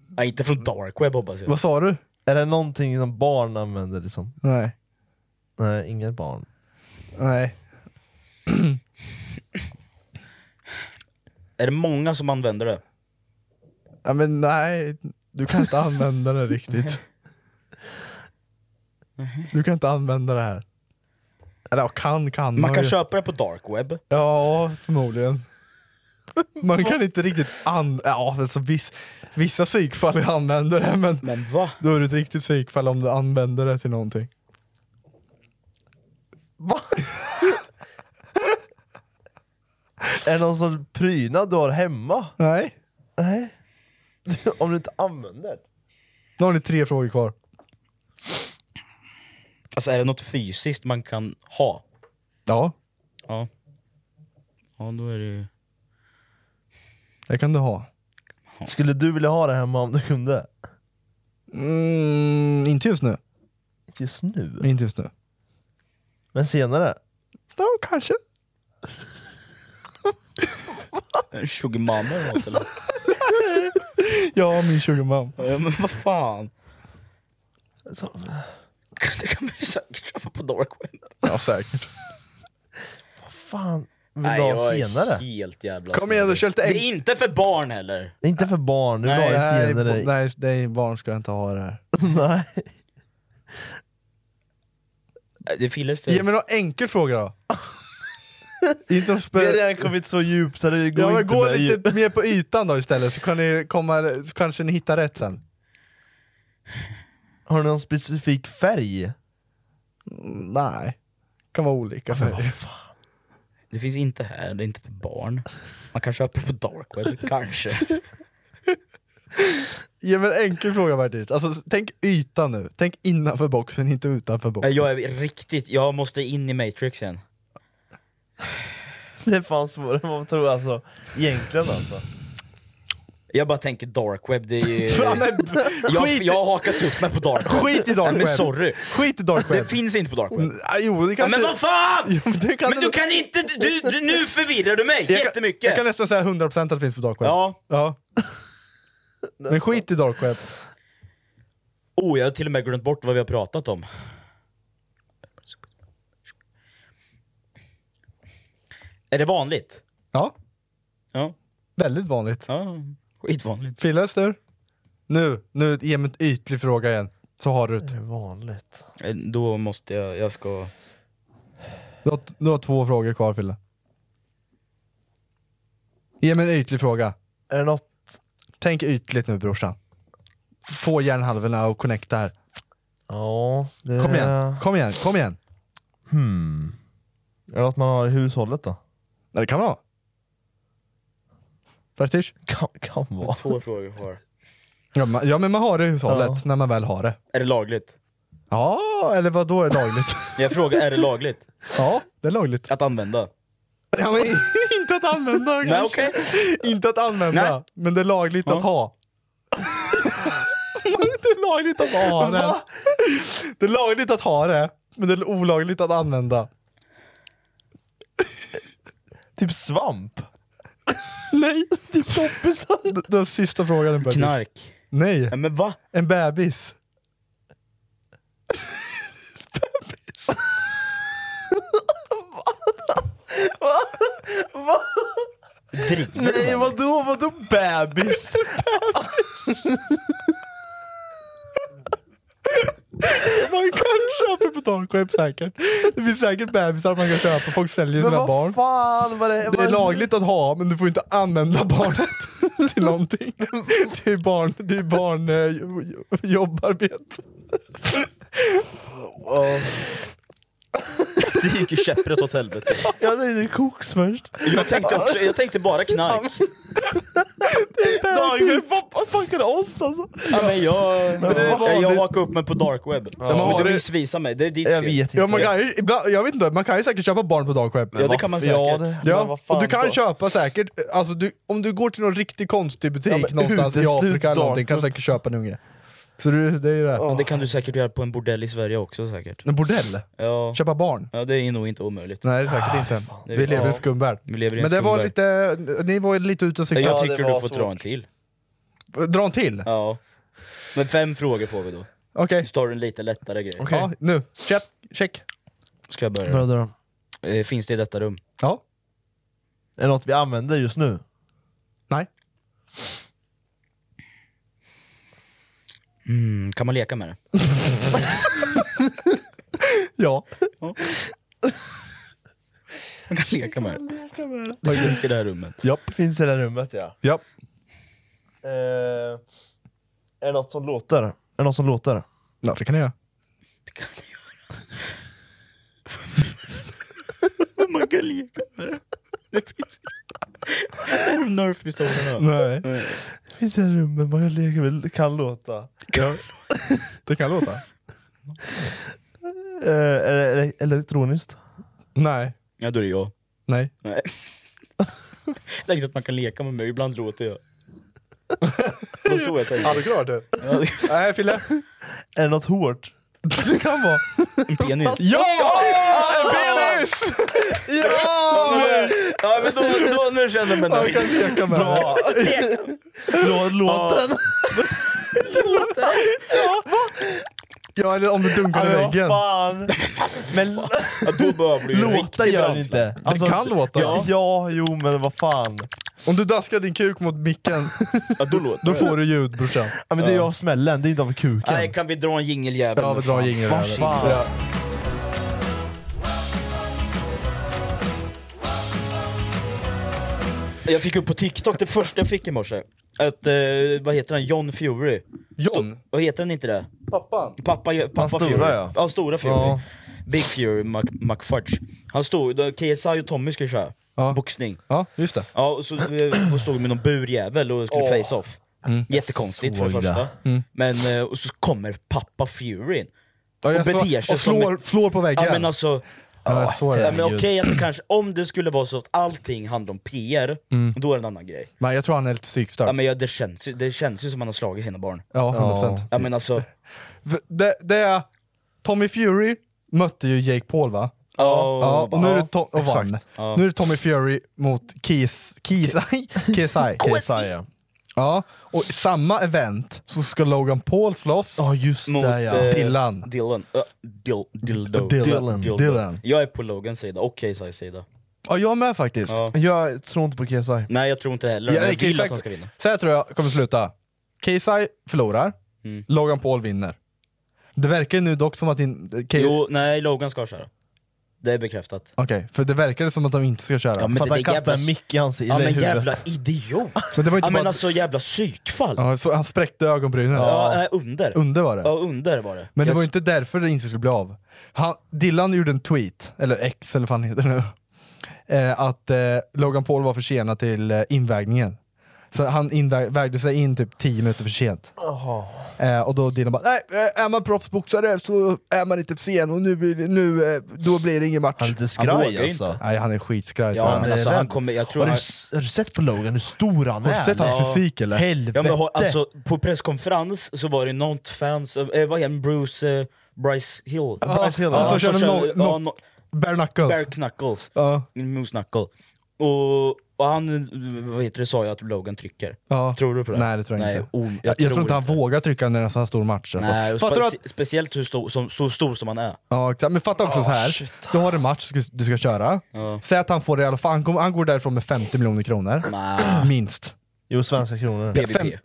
D: Nej, inte från dark web hoppas jag.
C: Vad sa du?
E: Är det någonting som barn använder liksom?
C: Nej.
E: Nej, inget barn.
C: Nej.
D: Är det många som använder det?
C: Ja, men nej, du kan inte använda det riktigt. Du kan inte använda det här. Eller ja, kan kan.
D: Man kan
C: ju.
D: köpa det på dark web.
C: Ja, förmodligen. Man kan inte riktigt an... Ja, alltså viss, vissa psykfall använder det men...
D: Men va?
C: Då är det ett riktigt psykfall om du använder det till någonting.
E: Är det någon sån prydnad du har hemma?
C: Nej.
E: Nej. Om du inte använder?
C: Nu har ni tre frågor kvar.
D: Alltså är det något fysiskt man kan ha?
C: Ja,
D: Ja. Ja, då är det ju...
C: det kan du ha.
E: Skulle du vilja ha det hemma om du kunde?
C: Mm, inte just nu.
E: Just nu?
C: Inte just nu.
E: Men senare?
C: Då kanske.
D: En sugarmamma eller något eller?
C: Ja, min sugarmam.
D: Ja, men vad fan. Det kan man ju säkert köpa på dark web.
C: Ja, säkert.
E: Vad fan vill du ha senare?
D: är helt jävla
C: Kom igen,
D: snurrig.
C: kör lite
D: Det
C: äng-
D: är inte för barn heller.
E: Det är inte för barn, du vill ha det
C: nej,
E: senare.
C: bo- nej, nej, barn ska inte ha det här.
E: nej.
D: Det är Filles tur.
C: Ge mig någon enkel fråga då. inte om
E: Vi har
C: spe-
E: redan kommit så djupt så det går
C: ja, men
E: inte
C: gå
E: med djup.
C: lite mer på ytan då istället så, kan ni komma, så kanske ni hittar rätt sen.
E: Har du någon specifik färg?
C: Mm, Nej. Kan vara olika färger.
D: Det finns inte här, det är inte för barn. Man kan köpa det på dark web, kanske.
C: Ge mig en enkel fråga Martin. Alltså, tänk ytan nu. Tänk innanför boxen, inte utanför
D: Nej,
C: boxen.
D: Eh, Jag är riktigt, jag måste in i matrix igen.
E: Det är fan svårare än vad man tror alltså. Egentligen alltså.
D: Jag bara tänker dark web, det är ju...
C: Fan, men
D: jag,
C: skit i-
D: jag har hakat upp mig på dark web.
C: Skit i dark
D: Nej,
C: web.
D: Men sorry.
C: Skit i dark web.
D: Det finns inte på dark web.
C: Ah, jo, det
D: Ja,
C: kanske...
D: men vad fan!
C: Jo, men det kan
D: Men du kan inte, du, du, nu förvirrar du mig
C: Jag kan-
D: jättemycket!
C: Jag kan nästan säga 100% att det finns på dark web.
D: Ja.
C: ja. Men skit i dark web.
D: Oh, jag har till och med glömt bort vad vi har pratat om. Är det vanligt?
C: Ja,
D: Ja.
C: väldigt vanligt.
D: ja. Skitvanligt.
C: Filles tur. Nu, nu, ge mig en ytlig fråga igen. Så har du det.
E: Det är vanligt.
D: Eh, Då måste jag, jag ska...
C: Du har, du har två frågor kvar Fille. Ge mig en ytlig fråga.
E: Är det något...
C: Tänk ytligt nu brorsan. Få hjärnhalvorna att connecta här.
E: Ja, det...
C: Kom igen, kom igen, kom igen.
E: Hmm. Är det något man har i hushållet då?
C: Ja, Det kan vara. Prestige?
E: Kan, kan vara.
D: Två frågor kvar.
C: Ja, ma- ja men man har det i hushållet
E: Ja.
C: när man väl har det.
D: Är det lagligt?
C: Ja, eller vad då är lagligt?
D: Jag frågar, är det lagligt?
C: ja, det är lagligt.
D: Att använda?
C: Ja, men, inte att använda
D: Nej
C: kanske.
D: okej.
C: Inte att använda,
D: Nej.
C: men det är lagligt
D: Ja.
C: att ha. det är lagligt att ha det. Det är lagligt att ha det, men det är olagligt att använda.
E: Typ svamp?
C: Nej!
E: Typ toppisar?
C: D- Den sista frågan är bara...
D: Knark?
C: Nej,
D: Nej, men va?
C: en bebis.
D: Driver du med
E: Nej
D: mig?
E: vadå, vadå bebis?
C: Man kan köpa på Darkweb säkert. Det finns säkert bebisar man kan köpa, folk säljer
E: Men
C: sina
E: vad
C: barn.
E: fan var det?
C: Det är
E: vad-
C: lagligt att ha, men du får inte använda barnet till någonting. Det är barn, det är barn eh, jo- jo- jobbarbete.
D: Det gick ju käpprätt åt helvete.
E: Ja, det är koks först.
D: Jag tänkte, också, jag tänkte bara knark.
E: Dagen, vad fan kan oss alltså?
D: Ja, men jag,
E: Men det var
D: jag, jag
E: det-
D: hakade upp mig på dark web.
C: men
D: men
C: var
D: du
C: det-
D: missvisar mig, det är ditt
C: Jag
D: fel.
C: Ja, man kan, ju- ibland, jag vet inte, man kan ju säkert köpa barn på darkweb.
D: Ja, det kan man säkert. Ja, det- men
C: Ja,
D: vad fan
C: och du kan
D: då?
C: köpa säkert, alltså du, om du går till någon riktig konstig
D: Ja,
C: butik
D: men
C: någonstans i
D: uteslut
C: Afrika eller någonting kan du
D: darkweb.
C: säkert köpa en unge. Så du, det är ju det.
D: Men det kan du säkert göra på en bordell i Sverige också säkert.
C: En bordell?
D: Ja.
C: Köpa barn?
D: Ja det är nog inte omöjligt.
C: Nej, det är säkert inte.
D: Ah, det är-
C: vi lever i
D: ja.
C: en skum värld.
D: Vi lever i en
C: Men det
D: skum
C: var
D: värld.
C: lite, ni var ju lite ute och cyklade.
D: Jag tycker du får dra en till.
C: Dra en till?
D: Ja. Men fem frågor får vi då.
C: Okej.
D: Nu tar du en lite lättare grej.
C: Ja, nu. Check. Check.
D: Ska jag börja?
E: Bra, dra.
D: Eh, Finns det i detta rum?
C: Ja.
E: Är det något vi använder just nu?
C: Nej.
D: Mm, kan man leka med det?
C: ja.
D: Man kan leka med det.
E: Kameran.
D: Det finns i det här rummet.
C: Japp.
E: Finns i det här rummet ja.
C: Japp.
E: Eh, är det något som låter? Är det något som låter?
C: Ja, det kan jag göra.
D: Man kan leka med det. Det finns Är de nerfpistolerna?
C: Nej.
E: Det finns i det här rummet, man kan leka med, det kan låta.
C: Ja. Det kan låta.
E: Eh, är det ele- elektroniskt?
C: Nej.
D: Ja, då är det jag.
C: Nej.
D: Nej. Jag tänkte att man kan leka med mig, ibland låter jag. Det var så jag tänkte.
C: Ja, det är klart du. Nej, Fille.
E: Är det något hårt? Det kan vara.
D: En penis.
C: Ja!
E: En
C: penis!
D: Ja, men, ja, men då, då, nu känner jag mig nöjd.
E: Man kan leka med
D: Bra.
E: Lå- Låter den?
C: Ja, eller om du dunkar i
E: Ja, men vad
C: väggen.
E: fan. Men
D: Ja, då börjar jag bli
E: låta
D: riktigt
E: gör
D: bra.
E: den inte.
C: Den kan låta.
E: Ja. ja, jo men vad fan.
C: Om du daskar din kuk mot micken,
D: Ja, då låter
C: då
D: det.
C: får du ljud brorsan.
E: Ja, men det är ju av smällen, det är inte av kuken.
D: Nej, kan vi dra en jingeljävel?
C: Ja, vi drar jingel.
E: Vad fan.
C: Ja.
D: Jag fick upp på TikTok, det första jag fick i morse. Att, eh, vad heter han, John Fury?
C: John?
D: vad heter han inte det?
C: Pappan?
D: Pappa, eh, pappa
E: stora,
D: Fury.
E: ja.
D: stora Fury.
E: Ja.
D: Big Fury, Mc- McFudge. Han stod, då KSI och Tommy skulle köra boxning.
C: Ja, just det.
D: Ja, och så eh, och stod med någon burjävel och skulle
E: Åh.
D: face-off.
C: Mm.
D: Jättekonstigt för det
E: Såg det.
D: första. Men, eh, och så kommer pappa Fury in.
C: Ja, jag
D: och beter
C: så-
D: sig
C: och
D: som
C: slår,
D: en-
C: slår på väggen.
D: Ja men alltså,
C: Ja, jag såg det.
D: ja, men okej att det kanske, om det skulle vara så att allting handlar om PR,
C: Mm.
D: då är det en annan grej.
C: Men jag tror han är lite psykstörd.
D: Ja, men ja, det, känns, ju- det känns ju som han har slagit sina barn.
C: Ja, 100%.
D: Ja men alltså,
C: V- Det, det är Tommy Fury mötte ju Jake Paul va?
D: Ja.
C: ja och nu är det to- och
D: Exakt.
C: vann.
D: Ja.
C: Nu är det Tommy Fury mot Kees, Kees, KSI.
E: KSI.
C: Ja, och i samma event så ska Logan Paul slåss
E: Ja just
D: mot
E: det ja.
D: eh,
C: Dylan.
D: Dylan. Ja, Dil, dildo.
E: Dylan,
D: Dildo.
E: Dylan.
D: Jag är på Logans sida och KSI's sida.
C: Ja, jag med faktiskt.
D: Ja.
E: Jag tror inte på KSI.
D: Nej jag tror inte det heller, men jag vill att han ska vinna.
C: Så här tror jag kommer sluta. KSI förlorar,
D: Mm.
C: Logan Paul vinner. Det verkar ju nu dock som att... In, eh, K-
D: Jo, nej Logan ska köra. Det är bekräftat.
C: Okej, för det verkar som att de inte ska köra.
D: Ja, men
E: För att
D: det
E: han
D: där
E: kastar
D: jävla-
E: en mick i hans
D: Ja
E: eller i
D: men
E: huvudet.
D: jävla idiot!
C: Men det var inte
D: ja men
C: bara-
D: alltså jävla psykfall! Ja,
C: Ja, så han spräckte ögonbrynen.
D: nej, under.
C: Under var det.
D: Ja under var det.
C: Men det
D: Jag
C: var ju inte därför det inte skulle bli av. Han, Dylan gjorde en tweet, eller X eller vad han heter nu, eh, att eh, Logan Paul var försenad till eh, invägningen. Så han inväg- vägde sig in typ 10 minuter för sent. Eh, och då Dylan bara nej, eh, är man proffsboxare så är man inte för sen och nu, vill, nu eh, då blir det ingen match.
E: Han är lite
D: Han
E: skraj
D: vågar
E: alltså.
D: inte.
C: Nej han är skitskraj. tror
D: Ja,
C: jag.
D: men
E: är
D: alltså, han
E: rädd.
D: kommer, jag tror
E: Har du,
D: han,
E: s- har du sett på Logan hur stor han
C: Har
E: är?
C: du sett hans fysik eller?
E: Helvete!
D: ja, men, har- alltså, på presskonferens så var det något fans, eh, vad heter han, Bruce, eh, Bryce Hill?
E: Bryce Hill, ja.
D: han
C: Som körde
D: kör-
C: no- no-
D: ja, no-
C: Bare knuckles.
D: bare knuckles,
C: Ja.
D: moose knuckle. Och, och han, eh, vad heter det, sa ju att Logan trycker.
C: Ja.
D: Tror du på det?
C: Nej det tror jag
D: Nej,
C: inte.
D: o- jag
C: jag, tror,
D: tror
C: inte han
D: inte.
C: vågar trycka när det är en sån här stor match. Alltså.
D: Nej, och
C: Fattar du att
D: spe- Speciellt hur stor, som, så stor som han är.
C: Ja, exakt. men fatta också
D: Ah,
C: så här. du har en match du ska, du ska köra, säg att han får det i alla fall, han, kommer- han går därifrån med 50 miljoner kronor,
D: Nah.
C: minst.
E: Jo, svenska kronor.
D: PVP.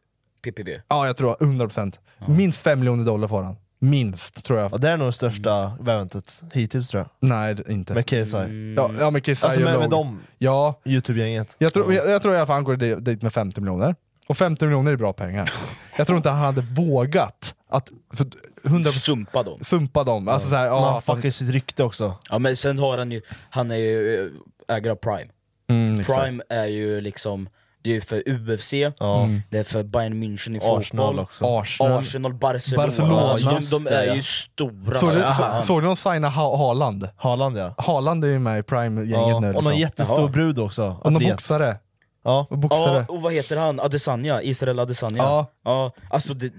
D: PPV.
C: Ja jag tror 100%. Minst 5 miljoner dollar får han. Minst tror jag.
E: Ja, det är nog det största eventet hittills tror jag.
C: Nej det- inte.
E: Med KSI.
C: ja, ja men Kisai
E: Alltså
C: och
E: med, med
C: Logan.
E: dem,
C: Ja,
E: Youtube-gänget.
C: jag tror, jag, jag tror i alla fall han går di- dit med 50 miljoner. Och 50 miljoner är bra pengar. Jag tror inte han hade vågat att... För 100
D: sumpa dem.
C: Sumpa dem. Alltså så här, ja,
D: Man
C: fan.
D: fuckar
E: sitt rykte också.
D: Ja men sen har han ju, han är ju eh, ägare av Prime.
C: Mm, exakt.
D: Prime är ju liksom, det är ju för UFC,
C: Mm.
D: det är för Bayern München i
C: Arsenal
D: fotboll,
C: också. Arsenal.
D: Arsenal, Barcelona.
C: Barcelona.
D: Alltså,
C: Just
D: de, de
C: det,
D: är
C: ja.
D: ju stora.
C: Såg du,
D: som
C: så,
D: fan.
C: såg du någon signa ha Haaland?
E: Haaland ja.
C: Haaland är ju med i Prime-gänget
E: Ja,
C: nu.
E: och någon jättestor
C: Jaha.
E: brud också.
C: Och någon
E: atlet.
C: boxare.
E: Ja.
C: Och boxare.
D: Ja, och vad heter han? Adesanya, Israel Adesanya.
C: Ja.
D: ja alltså det,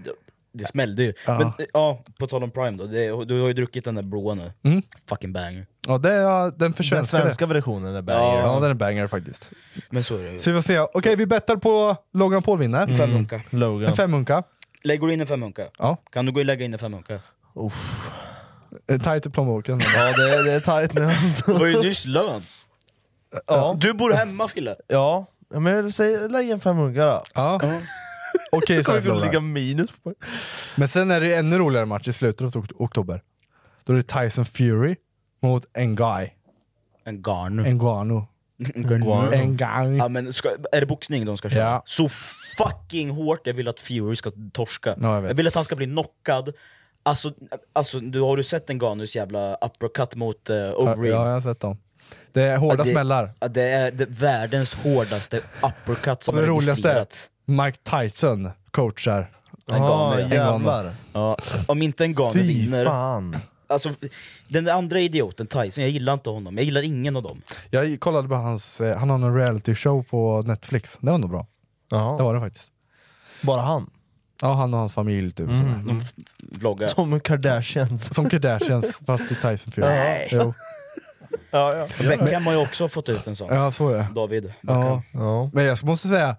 D: det smällde ju.
C: Ja.
D: Men ja, på tal om Prime då, det, du har ju druckit den där broa nu.
C: Mm.
D: Fucking banger.
C: Ja, det är, den försvenskade.
D: svenska versionen är banger.
C: Ja, den är banger faktiskt.
D: Men så är det ju.
C: Så vi får se. Okej, vi bettar på Logan Paul vinner.
D: En
E: Mm,
D: femhunka. Logan.
C: En femhunka.
D: Lägger du in en femhunka?
C: Mm. Ja.
D: Kan du gå och lägga in en femhunka?
C: Eh, Tajt i plånboken.
E: Ja det, det är tajt nu alltså.
D: Det var ju nyss lön. Du bor hemma Fille.
E: Ja, Ja, men jag säger, lägg en 500 då.
C: Ja. Okej, så
E: Kommer
C: här
E: vi ligga
C: förlorar.
E: minus på
C: Men sen är det ju ännu roligare match i slutet av ok- oktober. Då är det Tyson Fury mot Ngai.
D: Ngannou.
C: Ngannou. Ngannou.
D: Ja, men ska, är det boxning de ska köra?
C: Ja.
D: Så fucking hårt jag vill att Fury ska torska.
C: Ja, jag
D: jag,
C: vet.
D: vill att han ska bli knockad. Alltså, alltså du, har du sett Nganus jävla uppercut mot uh,
C: Ja,
D: Overeem?
C: jag har sett dem. Det är hårda
D: Ja, det-
C: smällar.
D: ja, Det är det världens hårdaste uppercut som
C: Och det
D: är
C: roligaste är
D: registrerat.
C: att Mike Tyson coachar
D: Ngannou, ja.
C: Ngannou.
D: Ja, om inte en Ghana
C: Fy
D: vinner...
C: fan.
D: Alltså, den där andra idioten, Tyson, jag gillar inte honom. Jag gillar ingen av dem.
C: Jag kollade på hans, eh, han har en reality show på Netflix. Det var nog bra. Det var det faktiskt.
E: Bara han?
C: Ja, han och hans familj typ.
E: Mm.
C: sådär.
E: De
D: vloggar.
E: Som Kardashians.
C: Som Kardashians, fast i Tyson Fury.
E: Nej.
C: Jo.
E: Ja, ja.
D: Beckham har ju också fått ut en sån.
C: Ja, så är det.
D: David Beckham.
C: Ja. Men jag måste säga,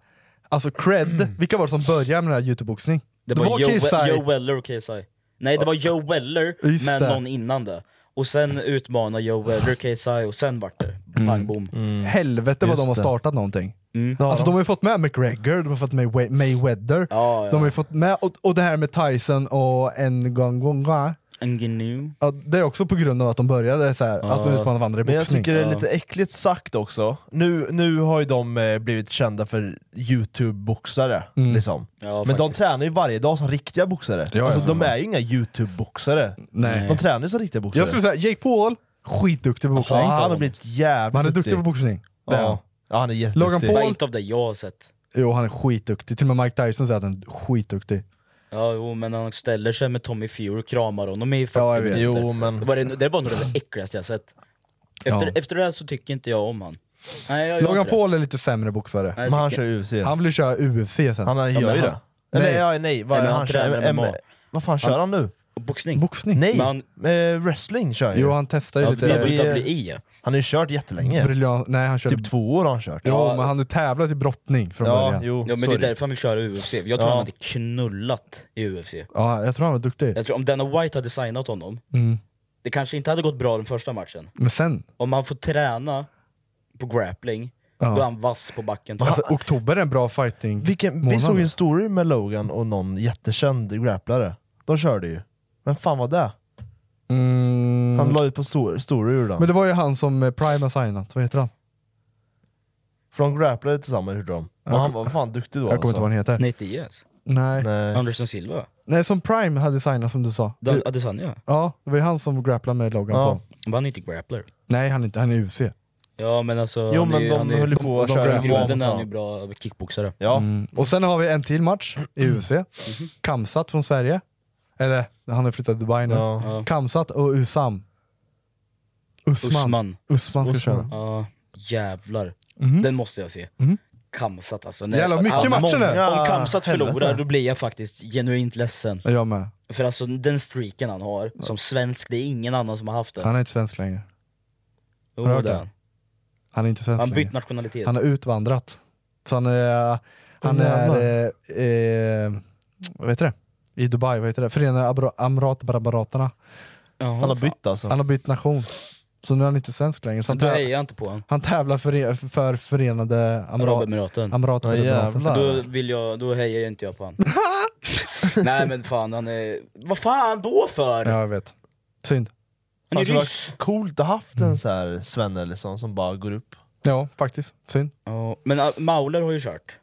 C: alltså cred, vilka var det som började med den här youtube-boxning?
D: Det var Joe,
C: KSI.
D: Joe Weller och KSI. Nej, det var Joe Weller
C: Just
D: med
C: det.
D: någon innan det. Och sen utmanade Joe Weller KSI och sen vart det
C: Mm.
D: pang bom.
C: Helvete vad
D: Just
C: de har
D: det.
C: startat någonting.
D: Mm.
C: Alltså de har ju fått med McGregor, de har fått med Way- Mayweather,
D: ja.
C: de har ju fått med, och, och det här med Tyson och en gång gång gång.
D: Ngannou.
C: Ja, det är också på grund av att de började så här, att man utmanar varandra i
E: Men jag
C: boxning.
E: tycker det är lite äckligt sagt också. Nu, nu har ju de eh, blivit kända för youtube-boxare.
C: Mm.
E: Liksom.
C: Ja,
E: Men
C: faktiskt.
E: de tränar ju varje dag som riktiga boxare.
C: ja,
E: alltså,
C: för
E: de
C: fan.
E: är ju inga youtube-boxare.
C: Nej.
E: De tränar ju som riktiga boxare.
C: Jag skulle säga Jake Paul, skitduktig på boxning.
E: han, han har blivit jävligt
C: Men han är duktig på boxning. Det är han.
E: Ja. ja, han är
C: Logan
E: jätteduktig.
C: Paul-
D: Inte av det jag har sett.
C: Jo han är skitduktig, till och med Mike Tyson säger att han är skitduktig.
D: Ja, jo, men han ställer sig med Tommy Fury och kramar honom i 40
C: vet.
D: minuter.
C: Jo, men-
D: det, var det, det var nog det äckligaste jag sett. Efter,
C: Ja.
D: efter det här så tycker inte jag om han. Nej, jag gör
C: Logan
D: inte det.
C: Paul är lite sämre boxare.
D: Nej, Men han tycker
E: kör UFC.
C: Han vill köra UFC sen.
E: Han gör ju det. Eller, ja, nej, vad,
C: Nej,
E: är
C: men
E: han
C: han
E: kör,
C: tränar
E: M-
C: MMA.
E: vad fan kör han,
C: Han-
E: nu?
D: Boxning.
C: Boxning?
E: Nej,
C: Men
E: eh, wrestling kör han ju.
C: Jo, han testar ju Ja, lite- WWE.
E: Han har ju kört jättelänge.
C: Briljant. Nej, han kör...
E: Typ två år har han kört.
C: Jo men han har tävlat i brottning från början.
D: ja, men det är därför han vill köra UFC. Jag tror
C: Ja.
D: han hade knullat i UFC.
C: Ja, jag tror han var duktig.
D: Jag tror om Dana White hade signat honom,
C: Mm.
D: det kanske inte hade gått bra den första matchen.
C: Men sen,
D: Om han får träna på grappling,
C: Ja.
D: då är han vass på backen.
C: alltså, oktober är en bra fighting
E: Vilken, vi
C: månad.
E: såg ju en story med Logan och någon jättekänd grapplare. De körde ju. Men fan var det?
C: Mm.
E: Han la ut på so- story ur den.
C: Men det var ju han som eh, Prime har signat, vad heter han?
E: För de grapplade tillsammans gjorde de. Men
C: Jag
E: han
C: kom-
E: var fan duktig då alltså.
C: jag kommer inte ihåg vad han heter.
D: Nate Diaz?
C: Nej.
D: Anderson Silva?
C: Nej, som Prime hade signat som du sa.
D: Dan-
C: Du-
D: Adesanya?
C: Ja, det var ju han som grapplade med Logan Paul.
D: Men han är inte grappler.
C: Nej, han är inte, han är UFC.
D: Ja men alltså,
C: Jo,
D: han är
C: men
D: ju-
C: de
D: han är ju-
C: höll ju på att
D: de-
C: köra
D: från
C: en
D: grunden
C: bomb,
D: är han
C: sa
D: ju
C: han.
D: bra kickboxare.
C: Mm. Och sen har vi en till match i UFC. Kamsat från Sverige. Eller, han har flyttat till Dubai nu.
D: Ja. Ja.
C: Kamsat och Usam. Usman.
D: Usman.
C: Usman ska köra.
D: Ja, jävlar. Den måste jag se. Kamsat alltså. Nej,
C: Jävlar, Mhm. mycket
D: ja,
C: matcher nu. Ah,
D: Om Kamsat
C: Helvete.
D: förlorar då blir jag faktiskt genuint ledsen.
C: Jag med.
D: För alltså den streaken han har, som svensk, det är ingen annan som har haft den.
C: Han är inte svensk längre.
D: Jo,
C: Har du hört
D: det är
C: det?
D: han.
C: Han är inte svensk
D: Han bytt
C: längre.
D: nationalitet.
C: Han har utvandrat. Så han är, han
D: Åh,
C: är
D: jävlar.
C: eh, eh, vad heter det? I Dubai, vad heter det? Förenade Abra- Emiratbarabaterna.
D: Han har fan. bytt alltså.
C: Han har bytt nation. Så nu är han inte svensk längre. Så
D: Men
C: han,
D: då
C: täv-
D: hejar jag inte på han.
C: han tävlar för, för Förenade
D: Arabemiraten.
C: Emiratbarabaten.
D: Då, vill jag, då hejar ju inte jag på han. Nej men fan, han är... Vad fan då för?
C: Ja, jag vet. Synd.
E: Fan,
D: är
E: det var
D: ryss.
E: coolt att haft
C: Mm.
E: en så här svenne liksom, som bara går upp.
C: Ja, faktiskt. Synd.
D: Ja, Men äh, Mauler har ju kört.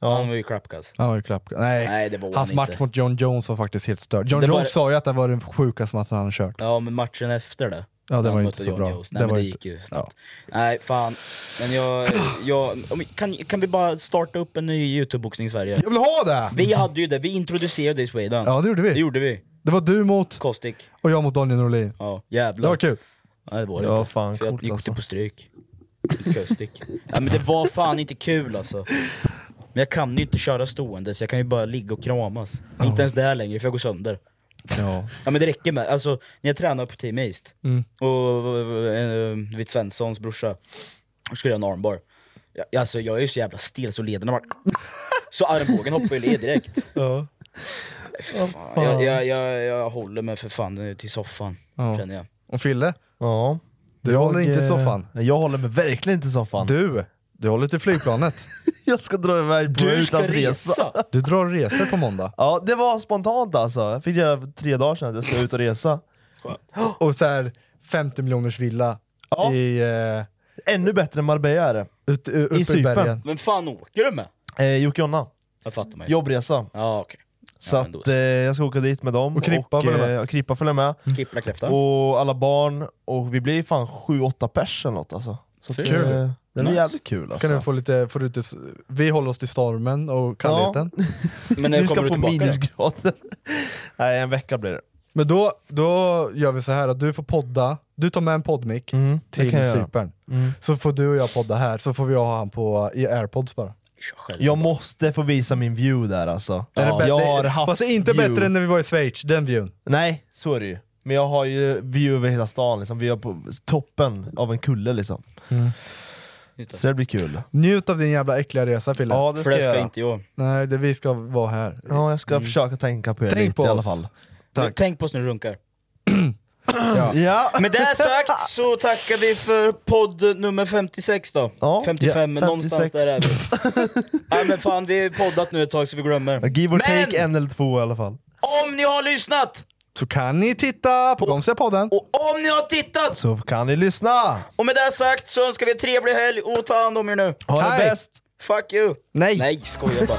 D: Han var ju crapkass.
C: Han var ju klapp. Nej,
D: Nej, det var han
C: hans match
D: inte.
C: mot John Jones var faktiskt helt störd. John
D: Det var-
C: Jones sa ju att det var den sjukaste matchen han hade kört.
D: Ja, men matchen efter det.
C: Ja, det
D: när
C: var
D: han
C: inte
D: mötte
C: så
D: John
C: bra.
D: Jones. Nej,
C: Det
D: men
C: var
D: det
C: inte-
D: gick ju snabbt. Nej, fan. Men jag... jag om- kan, kan vi bara starta upp en ny YouTube-boxning i Sverige?
C: Jag vill ha det!
D: Vi hade ju det, vi introducerade det i Sweden.
C: Ja det gjorde vi.
D: Det gjorde vi.
C: Det var du mot...
D: Kostik.
C: Och jag mot Daniel Norlin.
D: Ja, jävlar.
C: Det var kul.
D: Nej, det var det
C: Ja,
D: inte.
C: fan,
D: För jag
C: coolt
D: gick typ
C: alltså.
D: på stryk. Kostik. ja, men det var fan inte kul alltså. Men jag kan ju inte köra stående så jag kan ju bara ligga och kramas. Inte ens där längre för jag går sönder.
C: Ja.
D: Ja men det räcker med, alltså när jag tränade på Team East,
C: Mm.
D: och eh, vid Svenssons brorsa, då skulle jag ha en armbar. Jag, alltså jag är ju så jävla stel så lederna bara... Så armbågen hoppar ju led direkt.
C: Ja.
D: Fan, jag, jag, jag, jag håller mig för fan eh, till soffan,
C: Ja.
D: känner jag.
C: Och Fille?
O: Ja. eh,
C: Du håller inte i soffan.
O: Jag håller mig verkligen inte i soffan.
C: Du, du håller till flygplanet.
O: jag ska dra iväg på
C: Du ska
O: utlandsresa.
C: resa. Du drar resor på måndag.
O: Ja, det var spontant alltså. Jag fick reda för tre dagar sedan att jag skulle ut och resa.
C: Och så här 50 miljoners villa i... eh,
O: Ännu bättre än Marbella är det.
C: Ut, u- uppe i bergen.
D: Vem fan åker du med?
O: Eh, Jocke och Jonna.
D: Jag fattar mig.
O: Jobbresa.
D: Ja, okej.
O: Så att, eh, jag ska åka dit med dem.
C: Och Krippa följer med.
O: eh, och Krippa följer med.
D: Krippla kräfta.
O: Och alla barn. Och vi blir fan 7-8 pers eller något alltså. Så att, eh, Det blir jävligt kul alltså.
C: Kan du få lite, får du lite, s- vi håller oss till stormen och kallheten.
D: Men när
O: vi ska
D: kommer
O: få
D: du tillbaka då?
O: minusgrader. Nej, en vecka blir det.
C: Men då, då gör vi så här att du får podda, du tar med en poddmick till
O: kan jag göra.
C: Cypern.
O: Mm.
C: Så får du och jag podda här, så får vi ha han på i airpods bara.
O: Jag måste få visa min view där alltså.
C: Det är det bä-
O: jag
C: det-
O: har
C: Fast
O: haft
C: det är inte
O: view.
C: bättre än när vi var i Schweiz, den viewn.
O: Nej, så är det ju. Men jag har ju view över hela stan, liksom. vi är på toppen av en kulle liksom.
C: Mm.
O: Så det blir kul.
C: Njut av din jävla äckliga resa Fille.
O: Ja, det För ska det jag ska göra. inte
D: jag.
C: Nej, det, vi ska vara här. Mm.
O: Ja, jag ska försöka tänka på er
C: Tänk
O: lite
C: på
O: i alla
C: oss.
O: fall.
D: Men Tänk på oss när du runkar.
C: Ja.
D: Med det sagt så tackar vi för podd nummer 56 då. 55,
O: ja,
D: någonstans
O: 56.
D: där är vi. Nej men fan, vi har poddat nu ett tag så vi glömmer.
O: Give or
D: Men
O: take en eller två i alla fall.
D: om ni har lyssnat,
C: Så kan ni titta på Gomsia-podden.
D: om ni har tittat,
O: Så kan ni lyssna!
D: och med det sagt så önskar vi en trevlig helg och ta hand om er nu.
O: Ha det Hej.
C: bäst.
D: Fuck you!
C: Nej!
D: Nej, skojar bara.